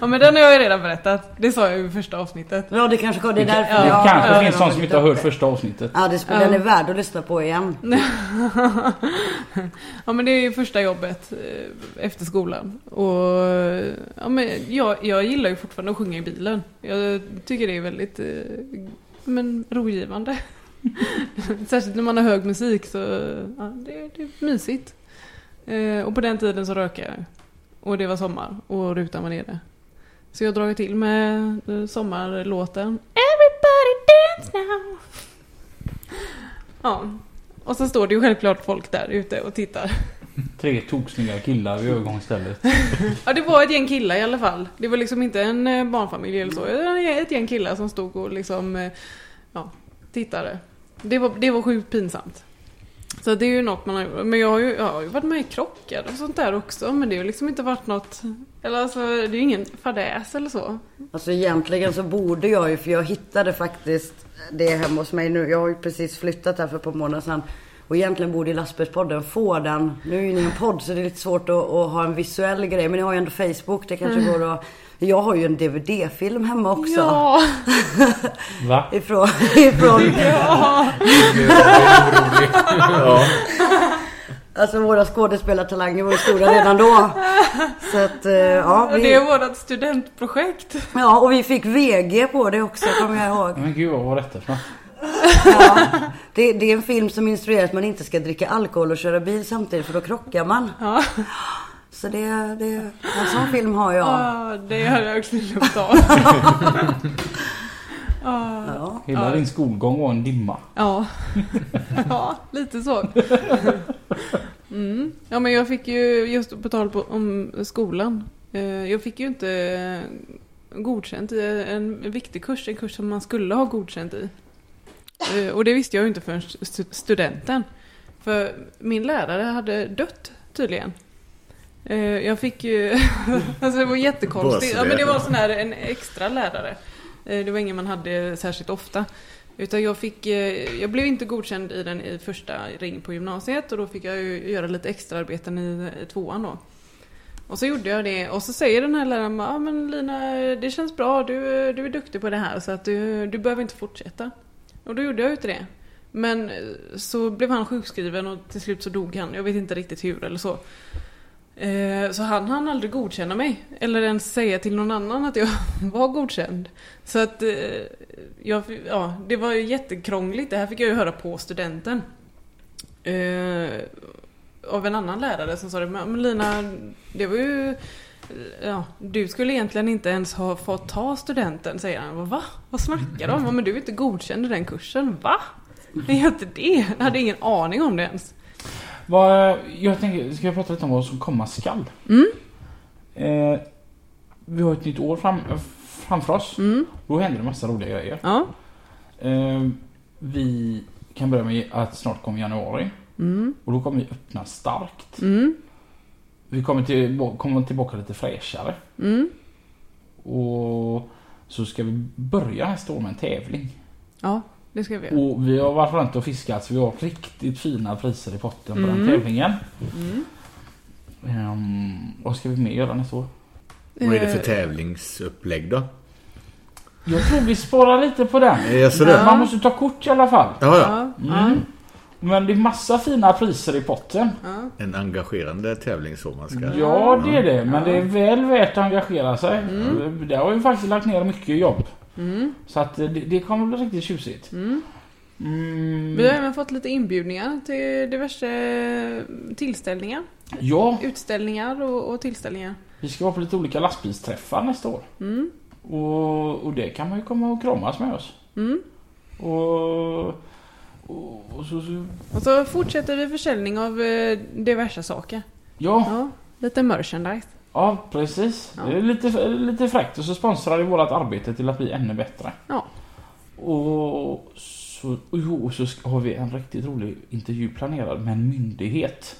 [SPEAKER 1] ja, men den har jag ju redan berättat. Det sa jag ju i första avsnittet.
[SPEAKER 7] det kanske det är därför
[SPEAKER 4] Det
[SPEAKER 7] jag-
[SPEAKER 4] kanske
[SPEAKER 7] jag-
[SPEAKER 4] finns någon som inte har hört första avsnittet.
[SPEAKER 7] Ja, det spelar den är värd att lyssna på igen.
[SPEAKER 1] ja men det är ju första jobbet eh, efter skolan. Och ja, men jag, jag gillar ju fortfarande att sjunga i bilen. Jag tycker det är väldigt eh, men, rogivande. Särskilt när man har hög musik så ja, det, det är mysigt. Eh, och på den tiden så rökte jag. Och det var sommar och rutan var nere. Så jag har dragit till med eh, sommarlåten Everybody dance now. Ja, och så står det ju självklart folk där ute och tittar.
[SPEAKER 4] Tre toksnygga killar vid övergångsstället.
[SPEAKER 1] Ja, det var ett gäng killar i alla fall. Det var liksom inte en eh, barnfamilj eller så. Det var ett gäng killar som stod och liksom, eh, ja, tittade. Det var, det var sjukt pinsamt. Så det är ju något man har gjort. Men jag har ju, jag har ju varit med i krockar och sånt där också. Men det har ju liksom inte varit något, eller alltså det är ju ingen fadäs eller så.
[SPEAKER 7] Alltså egentligen så borde jag ju, för jag hittade faktiskt det hemma hos mig nu. Jag har ju precis flyttat här för ett par månader sedan. Och egentligen borde ju Lastbilspodden få den. Nu är ju ni en podd så det är lite svårt att, att ha en visuell grej. Men ni har ju ändå Facebook, det kanske går att... Jag har ju en DVD-film hemma också.
[SPEAKER 1] Mm. Ja,
[SPEAKER 4] Va?
[SPEAKER 7] Ifrån, ifrån
[SPEAKER 9] Ja.
[SPEAKER 7] alltså våra skådespelartalanger var ju stora redan då. Så att, eh, ja.
[SPEAKER 1] det
[SPEAKER 7] Vi,
[SPEAKER 1] är vårt studentprojekt.
[SPEAKER 7] ja, och vi fick VG på det också kommer jag ihåg.
[SPEAKER 4] Men gud vad var detta för något?
[SPEAKER 7] Ja, det, det är en film som instruerar att man inte ska dricka alkohol och köra bil samtidigt för då krockar man.
[SPEAKER 1] Ja,
[SPEAKER 7] Så det, det, en sån film har jag.
[SPEAKER 1] ja det har jag också lukt av.
[SPEAKER 7] Ja.
[SPEAKER 4] Hela din skolgång var en dimma.
[SPEAKER 1] Ja, ja lite så. Mm. Ja, men jag fick ju, just på tal på, om skolan, eh, jag fick ju inte eh, godkänt i en viktig kurs, en kurs som man skulle ha godkänt i. Eh, Och det visste jag ju inte förrän stu- studenten. För min lärare hade dött tydligen. Eh, Jag fick ju... alltså det var jättekonstigt. Ja, men det var sån här en extra lärare. Eh, Det var ingen man hade särskilt ofta. Utan jag fick... eh, Jag blev inte godkänd i den i första ring på gymnasiet och då fick jag ju göra lite extraarbeten i i tvåan då.
[SPEAKER 5] Och så gjorde jag det och så säger den här läraren bara, ah, men Lina det känns bra, du, du är duktig på det här så att du, du behöver inte fortsätta. Och då gjorde jag ju inte det. Men eh, så blev han sjukskriven och till slut så dog han. Jag vet inte riktigt hur eller så. Eh, Så han hann aldrig godkänna mig. Eller ens säga till någon annan att jag var godkänd. Så att eh, jag, ja, det var ju jättekrångligt. Det här fick jag ju höra på studenten. Eh, av en annan lärare som sa det, men Lina, det var ju... Ja, du skulle egentligen inte ens ha fått ta studenten, säger han. Jag bara, Va? Vad snackar du om? Ja, Men du är inte godkänd i den kursen. Va? Det är inte det. Jag hade ingen aning om det ens.
[SPEAKER 4] Vad, jag tänker, ska jag prata lite om vad som komma skall? Eh, vi har ett nytt år fram, framför oss. Då händer det massa roliga grejer.
[SPEAKER 5] Ja.
[SPEAKER 4] Eh, vi kan börja med att snart kommer januari. Och då kommer vi öppna starkt. Vi kommer, till, kommer tillbaka lite fräschare. Och så ska vi börja nästa år med en tävling.
[SPEAKER 5] Ja, det ska vi göra.
[SPEAKER 4] Och vi har varit runt och fiskat så vi har riktigt fina priser i potten på den tävlingen. Ehm, vad ska vi mer göra nästa år?
[SPEAKER 9] Vad är det för tävlingsupplägg då?
[SPEAKER 4] Jag tror vi sparar lite på den.
[SPEAKER 9] Eh, Jaså det?
[SPEAKER 4] Man måste ta kort i alla fall.
[SPEAKER 9] Jaha, ja.
[SPEAKER 4] Men det är massa fina priser i potten.
[SPEAKER 9] En engagerande tävling så man ska...
[SPEAKER 4] Ja, det är det. Men det är väl värt att engagera sig. Där har vi faktiskt lagt ner mycket jobb. Så att eh, det, det kommer bli riktigt tjusigt. Mm,
[SPEAKER 5] Vi har även fått lite inbjudningar till diverse tillställningar.
[SPEAKER 4] Ja,
[SPEAKER 5] Utställningar och, och tillställningar.
[SPEAKER 4] vi ska vara på lite olika lastbilsträffar nästa år. Och, och det kan man ju komma och kramas med oss. Och, och, och så, så,
[SPEAKER 5] Och så fortsätter vi försäljning av eh, diverse saker.
[SPEAKER 4] ja,
[SPEAKER 5] Ja, lite merchandise.
[SPEAKER 4] Ja, precis. Det är lite, lite fräckt och så sponsrar det vårt arbete till att bli ännu bättre.
[SPEAKER 5] Ja.
[SPEAKER 4] Och så, och jo, och så ska- har vi en riktigt rolig intervju planerad med en myndighet.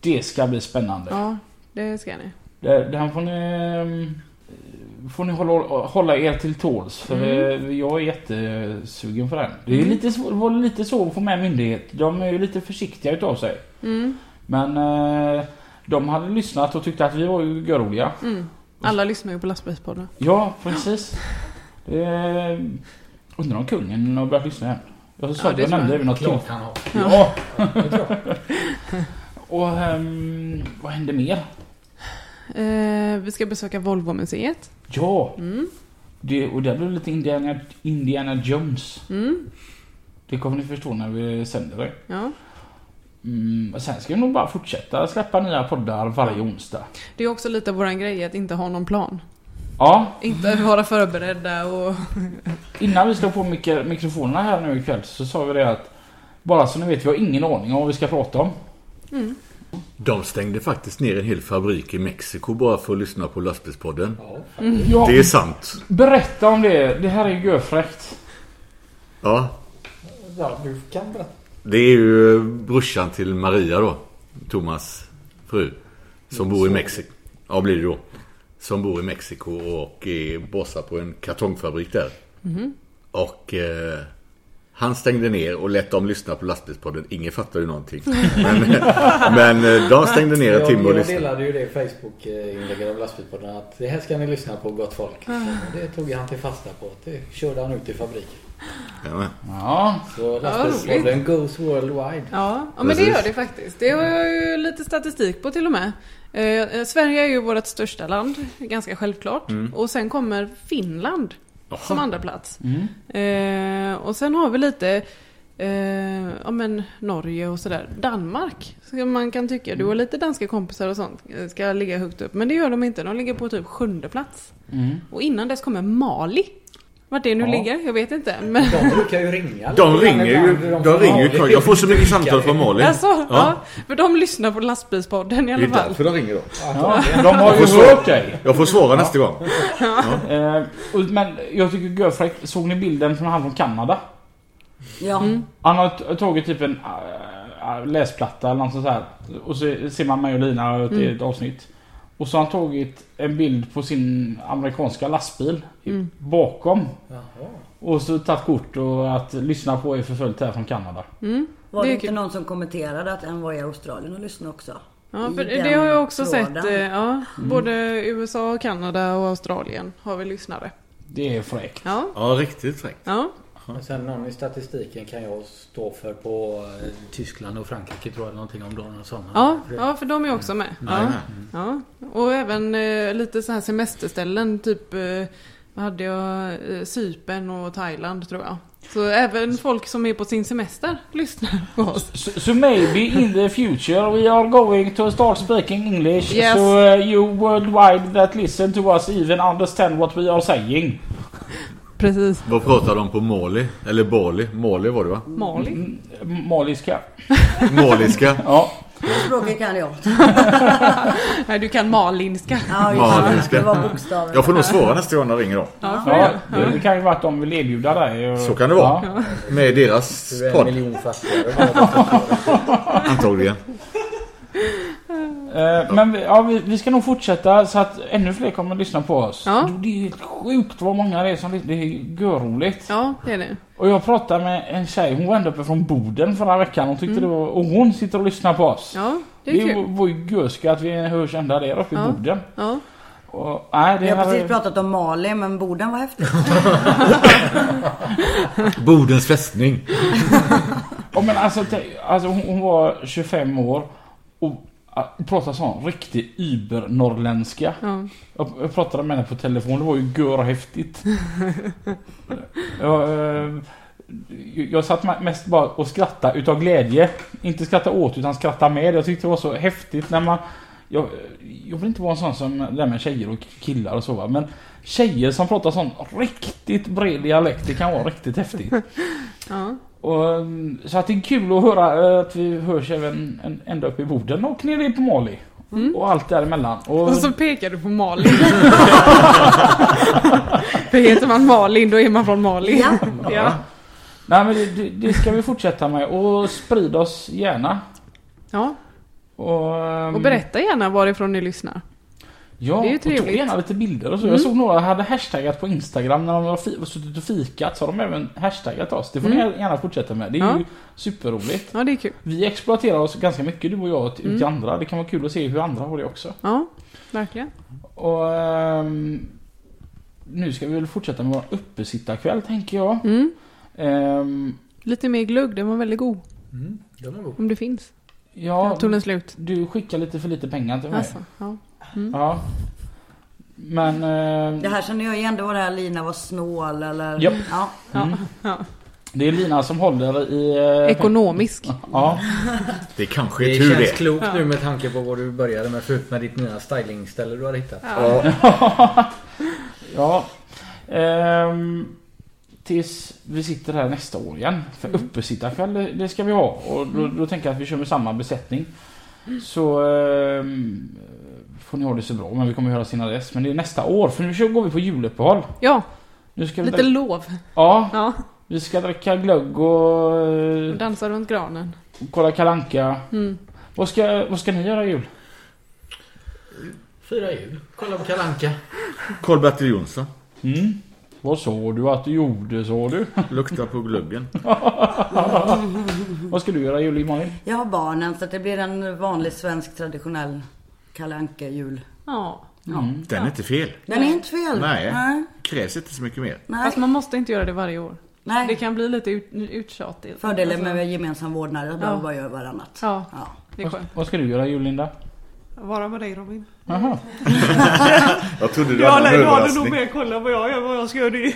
[SPEAKER 4] Det ska bli spännande.
[SPEAKER 5] Ja, det ska ni.
[SPEAKER 4] Det, det här får ni, ehm, får ni hålla, hålla er till tåls för
[SPEAKER 5] Mm.
[SPEAKER 4] eh, jag är jättesugen på den. Det är lite, svår- var lite svårt att få med myndighet. De är ju lite försiktiga utav sig.
[SPEAKER 5] Mm.
[SPEAKER 4] Men eh, de hade lyssnat och tyckte att vi var ju göroliga.
[SPEAKER 5] Mm. Alla lyssnar ju på lastbilspodden.
[SPEAKER 4] Ja, precis. Det är... Undrar om kungen har börjat lyssna än. Jag sa
[SPEAKER 5] Ja,
[SPEAKER 4] att
[SPEAKER 5] det
[SPEAKER 4] jag
[SPEAKER 5] tror jag.
[SPEAKER 4] nämnde även något kung.
[SPEAKER 2] Klart han har.
[SPEAKER 4] Ja. Och ehm, vad hände mer?
[SPEAKER 5] Eh, vi ska besöka Volvo-museet.
[SPEAKER 4] Ja. Det, och där blev det lite Indiana, Indiana Jones. Det kommer ni förstå när vi sänder det.
[SPEAKER 5] Ja.
[SPEAKER 4] Mm, och sen ska vi nog bara fortsätta släppa nya poddar varje onsdag.
[SPEAKER 5] Det är också lite av våran grej att inte ha någon plan.
[SPEAKER 4] Ja,
[SPEAKER 5] Inte vara förberedda och...
[SPEAKER 4] Innan vi slog på mikro mikrofonerna här nu ikväll så sa vi det att bara så ni vet, vi har ingen aning om vad vi ska prata om.
[SPEAKER 9] De stängde faktiskt ner en hel fabrik i Mexiko bara för att lyssna på lastbilspodden.
[SPEAKER 4] Ja,
[SPEAKER 9] Det är sant.
[SPEAKER 4] berätta om det. Det här är ju görfräckt.
[SPEAKER 9] Ja.
[SPEAKER 2] Ja, du kan berätta.
[SPEAKER 9] Det är ju eh, brorsan till Maria då. Thomas fru. Som bor i Mexiko. Ja, blir det då. Som bor i Mexiko och är bossar på en kartongfabrik där.
[SPEAKER 2] Mhm.
[SPEAKER 9] Och eh, han stängde ner och lät dem lyssna på lastbilspodden. Ingen fattar ju någonting. Men, men eh, de stängde ner en
[SPEAKER 2] Jag,
[SPEAKER 9] timme och
[SPEAKER 2] jag
[SPEAKER 9] lyssnade.
[SPEAKER 2] delade ju det i Facebook-inlägget av lastbilspodden att det här ska ni lyssna på gott folk. Så Det tog han till fasta på. Det körde han ut i fabriken.
[SPEAKER 9] Jajamän.
[SPEAKER 4] Ja,
[SPEAKER 2] Så lastbilspodden goes worldwide.
[SPEAKER 5] Ja, ja men det
[SPEAKER 9] Precis.
[SPEAKER 5] gör det faktiskt. Det har jag ju lite statistik på till och med. Eh, eh, Sverige är ju vårt största land, ganska självklart. Och sen kommer Finland som andra plats. Eh, och sen har vi lite eh, ja, men Norge och sådär. Danmark, som man kan tycka. Du har lite danska kompisar och sånt. eh, Ska ligga högt upp. Men det gör de inte. De ligger på typ sjunde plats. Och innan dess kommer Mali. Vart det nu ligger, jag vet inte. Men...
[SPEAKER 2] De brukar ju ringa.
[SPEAKER 9] De
[SPEAKER 2] lite grann
[SPEAKER 9] ringer ju.
[SPEAKER 2] ibland.
[SPEAKER 9] De ringer ju. Jag får så mycket samtal från Malin.
[SPEAKER 5] Alltså, ja. För de lyssnar på lastbilspodden i
[SPEAKER 9] Det är
[SPEAKER 5] alla fall.
[SPEAKER 9] därför de ringer då.
[SPEAKER 4] ja. De har ju
[SPEAKER 9] Jag får
[SPEAKER 4] hört dig.
[SPEAKER 9] Jag får svara nästa gång.
[SPEAKER 4] Eh, och- men jag tycker görfräckt. Såg ni bilden från han från Kanada?
[SPEAKER 7] Ja.
[SPEAKER 5] Mm.
[SPEAKER 4] Han har t- tagit typ en äh, äh, läsplatta eller något sånt här. Och så ser man mig och Lina i ett avsnitt. Och så har han tagit en bild på sin amerikanska lastbil i- bakom. Och så tagit kort och att lyssna på är förföljt här från Kanada.
[SPEAKER 7] Var
[SPEAKER 5] Det
[SPEAKER 7] det,
[SPEAKER 5] är
[SPEAKER 7] inte
[SPEAKER 5] kul.
[SPEAKER 7] någon som kommenterade att en var i Australien och lyssnade också?
[SPEAKER 5] Ja,
[SPEAKER 7] i
[SPEAKER 5] för det
[SPEAKER 7] den
[SPEAKER 5] har jag också
[SPEAKER 7] tråden. Mm.
[SPEAKER 5] sett. eh, Ja, Både USA, Kanada och Australien har vi lyssnare.
[SPEAKER 4] Det är fräckt.
[SPEAKER 5] Ja,
[SPEAKER 9] Ja, riktigt fräckt.
[SPEAKER 5] ja.
[SPEAKER 2] Men sen någon i statistiken kan jag stå för på eh, Tyskland och Frankrike tror jag någonting om dagen och sommaren.
[SPEAKER 5] Ja,
[SPEAKER 2] För-
[SPEAKER 5] ja, för de är också med. Ja, ja. Och även eh, lite så här semesterställen, typ eh, vad hade jag? Eh, Cypern och Thailand tror jag. Så även folk som är på sin semester lyssnar på oss.
[SPEAKER 4] So, so maybe in the future we are going to start speaking English
[SPEAKER 5] Yes.
[SPEAKER 4] so uh, you worldwide that listen to us even understand what we are saying.
[SPEAKER 5] Precis.
[SPEAKER 9] Vad pratar de på Mali? Eller Bali? Mali var det va?
[SPEAKER 5] Mali.
[SPEAKER 4] M- Maliska.
[SPEAKER 9] Maliska?
[SPEAKER 4] Ja.
[SPEAKER 7] Språket kan jag.
[SPEAKER 5] Nej, du kan malinska.
[SPEAKER 7] Ja, just det. Det var bokstaven.
[SPEAKER 9] Jag får nog svara nästa gång de ringer då.
[SPEAKER 4] Ja, det kan ju vara att de vill erbjuda dig.
[SPEAKER 9] Så kan det vara. Med deras
[SPEAKER 2] Du är en
[SPEAKER 9] podd
[SPEAKER 2] miljon fattigare.
[SPEAKER 9] antagligen.
[SPEAKER 4] Eh, Men vi- ja, vi, vi ska nog fortsätta så att ännu fler kommer att lyssna på oss.
[SPEAKER 5] Ja.
[SPEAKER 4] Det är helt sjukt vad många det är som lyssnar. Det är görroligt.
[SPEAKER 5] Ja, det är det.
[SPEAKER 4] Och jag pratade med en tjej, hon var ända uppe från Boden förra veckan och tyckte det var... Och hon sitter och lyssnar på oss.
[SPEAKER 5] Mm. Ja, det
[SPEAKER 4] Det
[SPEAKER 5] är kul.
[SPEAKER 4] var ju görska att vi hörs ända där uppe
[SPEAKER 5] Ja.
[SPEAKER 4] i Boden.
[SPEAKER 5] Ja.
[SPEAKER 4] Och, nej, det
[SPEAKER 7] Vi har precis
[SPEAKER 4] är...
[SPEAKER 7] pratat om Mali, men Boden var häftigt.
[SPEAKER 9] Bodens fästning.
[SPEAKER 4] Ja, men alltså, tänk- alltså hon, hon var 25 år och ah, pratade sån riktig übernorrländska.
[SPEAKER 5] Ja.
[SPEAKER 4] Jag, jag pratade med henne på telefon, det var ju görhäftigt. jag, eh, jag satt ma- mest bara och skrattade utav glädje. Inte skratta åt utan skratta med. Jag tyckte det var så häftigt när man... Jag, jag vill inte vara en sån som det där med tjejer och killar och så va. Men tjejer som pratar sån riktigt bred dialekt, det kan vara riktigt häftigt.
[SPEAKER 5] Ja.
[SPEAKER 4] Och, mm, så att det är kul att höra eh, att vi hörs även en- ända upp i Boden och nere på Mali. Och allt däremellan. Och,
[SPEAKER 5] Mm. Och så pekar du på Malin. För heter man Malin, då är man från Mali.
[SPEAKER 7] Ja.
[SPEAKER 5] Ja.
[SPEAKER 4] nej, men det, det, det ska vi fortsätta med och sprida oss gärna.
[SPEAKER 5] ja.
[SPEAKER 4] Och, ehm,
[SPEAKER 5] Och berätta gärna varifrån ni lyssnar.
[SPEAKER 4] Ja,
[SPEAKER 5] Det är ju
[SPEAKER 4] och tog
[SPEAKER 5] trevligt. Mm.
[SPEAKER 4] gärna lite bilder och så. Jag såg några hade hashtaggat på Instagram när de har fi- suttit och fikat så har de även hashtaggat oss. Det får ni gärna fortsätta med. Det är
[SPEAKER 5] Mm. Ja.
[SPEAKER 4] ju superroligt.
[SPEAKER 5] Ja, det är kul.
[SPEAKER 4] Vi exploaterar oss ganska mycket du och jag
[SPEAKER 5] Mm.
[SPEAKER 4] till, till andra. Det kan vara kul att se hur andra har det också.
[SPEAKER 5] Ja, verkligen.
[SPEAKER 4] Och ehm, nu ska vi väl fortsätta med vår uppesittarkväll tänker jag.
[SPEAKER 5] Mm.
[SPEAKER 4] Ehm,
[SPEAKER 5] Lite mer glögg, den var väldigt god.
[SPEAKER 2] Den var god.
[SPEAKER 5] Om det finns.
[SPEAKER 4] ja,
[SPEAKER 5] Jag tog den slut.
[SPEAKER 4] du skickar lite för lite pengar till mig.
[SPEAKER 5] Alltså, ja.
[SPEAKER 4] Ja. Men... ehm,
[SPEAKER 7] Mm. Det här känner jag igen. Det var det här Lina var snål eller...
[SPEAKER 4] Japp.
[SPEAKER 7] Ja.
[SPEAKER 4] Det är Lina som håller i... eh,
[SPEAKER 5] Ekonomisk.
[SPEAKER 4] Ja.
[SPEAKER 9] Det kanske
[SPEAKER 2] Det
[SPEAKER 9] är tur
[SPEAKER 2] känns
[SPEAKER 9] det.
[SPEAKER 2] klokt nu med tanke på vad du började med förut med ditt nya stylingställe du har hittat.
[SPEAKER 4] ja. Ehm, tills vi sitter här nästa år igen. För
[SPEAKER 7] Mm.
[SPEAKER 4] uppesittarkväll, det- det ska vi ha. Och då, då tänker jag att vi kör med samma besättning. Så ehm, får ni ha det så bra. Men vi kommer höra sina dess. Men det är nästa år. För nu kör- går vi på juluppehåll.
[SPEAKER 5] Ja,
[SPEAKER 4] Nu ska vi
[SPEAKER 5] lite
[SPEAKER 4] dricka,
[SPEAKER 5] lov.
[SPEAKER 4] ja,
[SPEAKER 5] Ja,
[SPEAKER 4] vi ska dricka glögg och, eh,
[SPEAKER 5] dansa runt granen.
[SPEAKER 4] och kolla kalanka.
[SPEAKER 5] Mm.
[SPEAKER 4] Vad, ska, vad ska ni göra i jul?
[SPEAKER 2] Fyra jul. Kolla på Kalanka.
[SPEAKER 9] Karl-Bertil Jonsson.
[SPEAKER 4] Mm. Vad sa du att du gjorde sa du?
[SPEAKER 9] Lukta på glöggen.
[SPEAKER 4] Vad ska du göra i jul Malin?
[SPEAKER 7] Jag har barnen så att det blir en vanlig svensk traditionell Kalle Anka-jul.
[SPEAKER 5] Ja,
[SPEAKER 9] Den är inte fel.
[SPEAKER 7] Den är inte fel.
[SPEAKER 9] Nej.
[SPEAKER 7] Nej.
[SPEAKER 9] Krävs inte så mycket mer.
[SPEAKER 7] Nej.
[SPEAKER 5] fast man måste inte göra det varje år.
[SPEAKER 7] Nej.
[SPEAKER 5] Det kan bli lite ut, uttjatigt.
[SPEAKER 7] Fördelen med gemensam vårdnad är att
[SPEAKER 5] Ja.
[SPEAKER 7] man bara gör varannat.
[SPEAKER 5] Ja.
[SPEAKER 7] Ja.
[SPEAKER 5] Det är skönt.
[SPEAKER 4] Vad ska du göra i jul Linda?
[SPEAKER 5] Vara med dig Robin.
[SPEAKER 4] Jaha.
[SPEAKER 9] Jag trodde du hade en överraskning.
[SPEAKER 5] med kolla vad jag gör, vad jag ska göra det.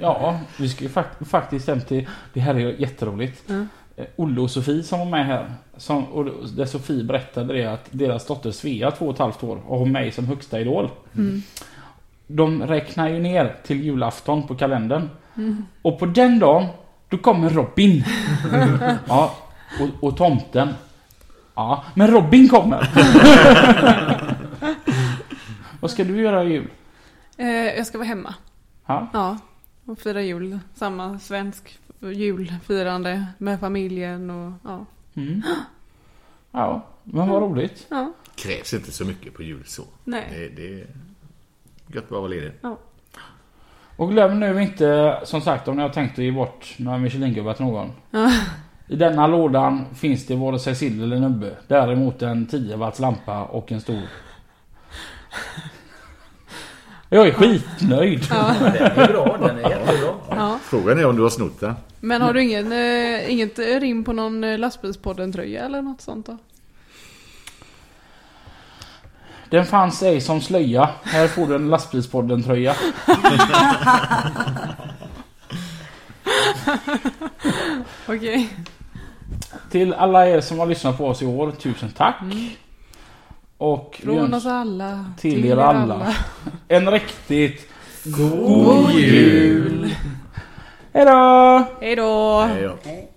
[SPEAKER 4] Ja, vi ska ju fak- faktiskt hem till... Det här är ju jätteroligt.
[SPEAKER 5] Mm.
[SPEAKER 4] Eh, Olle och Sofie som var med här. Som, och där Sofie berättade det att deras dotter Svea, två och ett halvt år, och har mig som högsta idol. De räknar ju ner till julafton på kalendern. Och på den dagen, då kommer Robin. ja, och, och tomten. Ja, men Robin kommer. Vad ska du göra i jul?
[SPEAKER 5] Eh, jag ska vara hemma.
[SPEAKER 4] Ja,
[SPEAKER 5] Ja, och fira jul. Samma svensk julfirande med familjen och ja.
[SPEAKER 4] mm. ja men vad roligt.
[SPEAKER 5] ja.
[SPEAKER 9] Krävs inte så mycket på jul så.
[SPEAKER 5] Nej.
[SPEAKER 9] Det, det är gött att bara vara ledig.
[SPEAKER 4] Och glöm nu inte, som sagt, om ni har tänkt att ge bort några Michelingubbar till någon. I denna lådan finns det vare sig sill eller nubbe. Däremot en 10 watts lampa och en stor. Jag är skitnöjd.
[SPEAKER 2] Den är bra, den är jättebra.
[SPEAKER 9] Frågan är om du har snott den.
[SPEAKER 1] Men har du ingen, eh, inget rim på någon eh, lastbilspodden-tröja eller något sånt då?
[SPEAKER 4] Den fanns ej som slöja. Här får du en lastbilspodden tröja.
[SPEAKER 1] Okej.
[SPEAKER 4] Till alla er som har lyssnat på oss i år, tusen tack. Och vi
[SPEAKER 1] Från
[SPEAKER 4] önskar-
[SPEAKER 1] oss alla.
[SPEAKER 4] till er alla. En riktigt god jul! Hejdå!
[SPEAKER 1] Hej då!
[SPEAKER 9] Nej, ja.
[SPEAKER 5] Nej.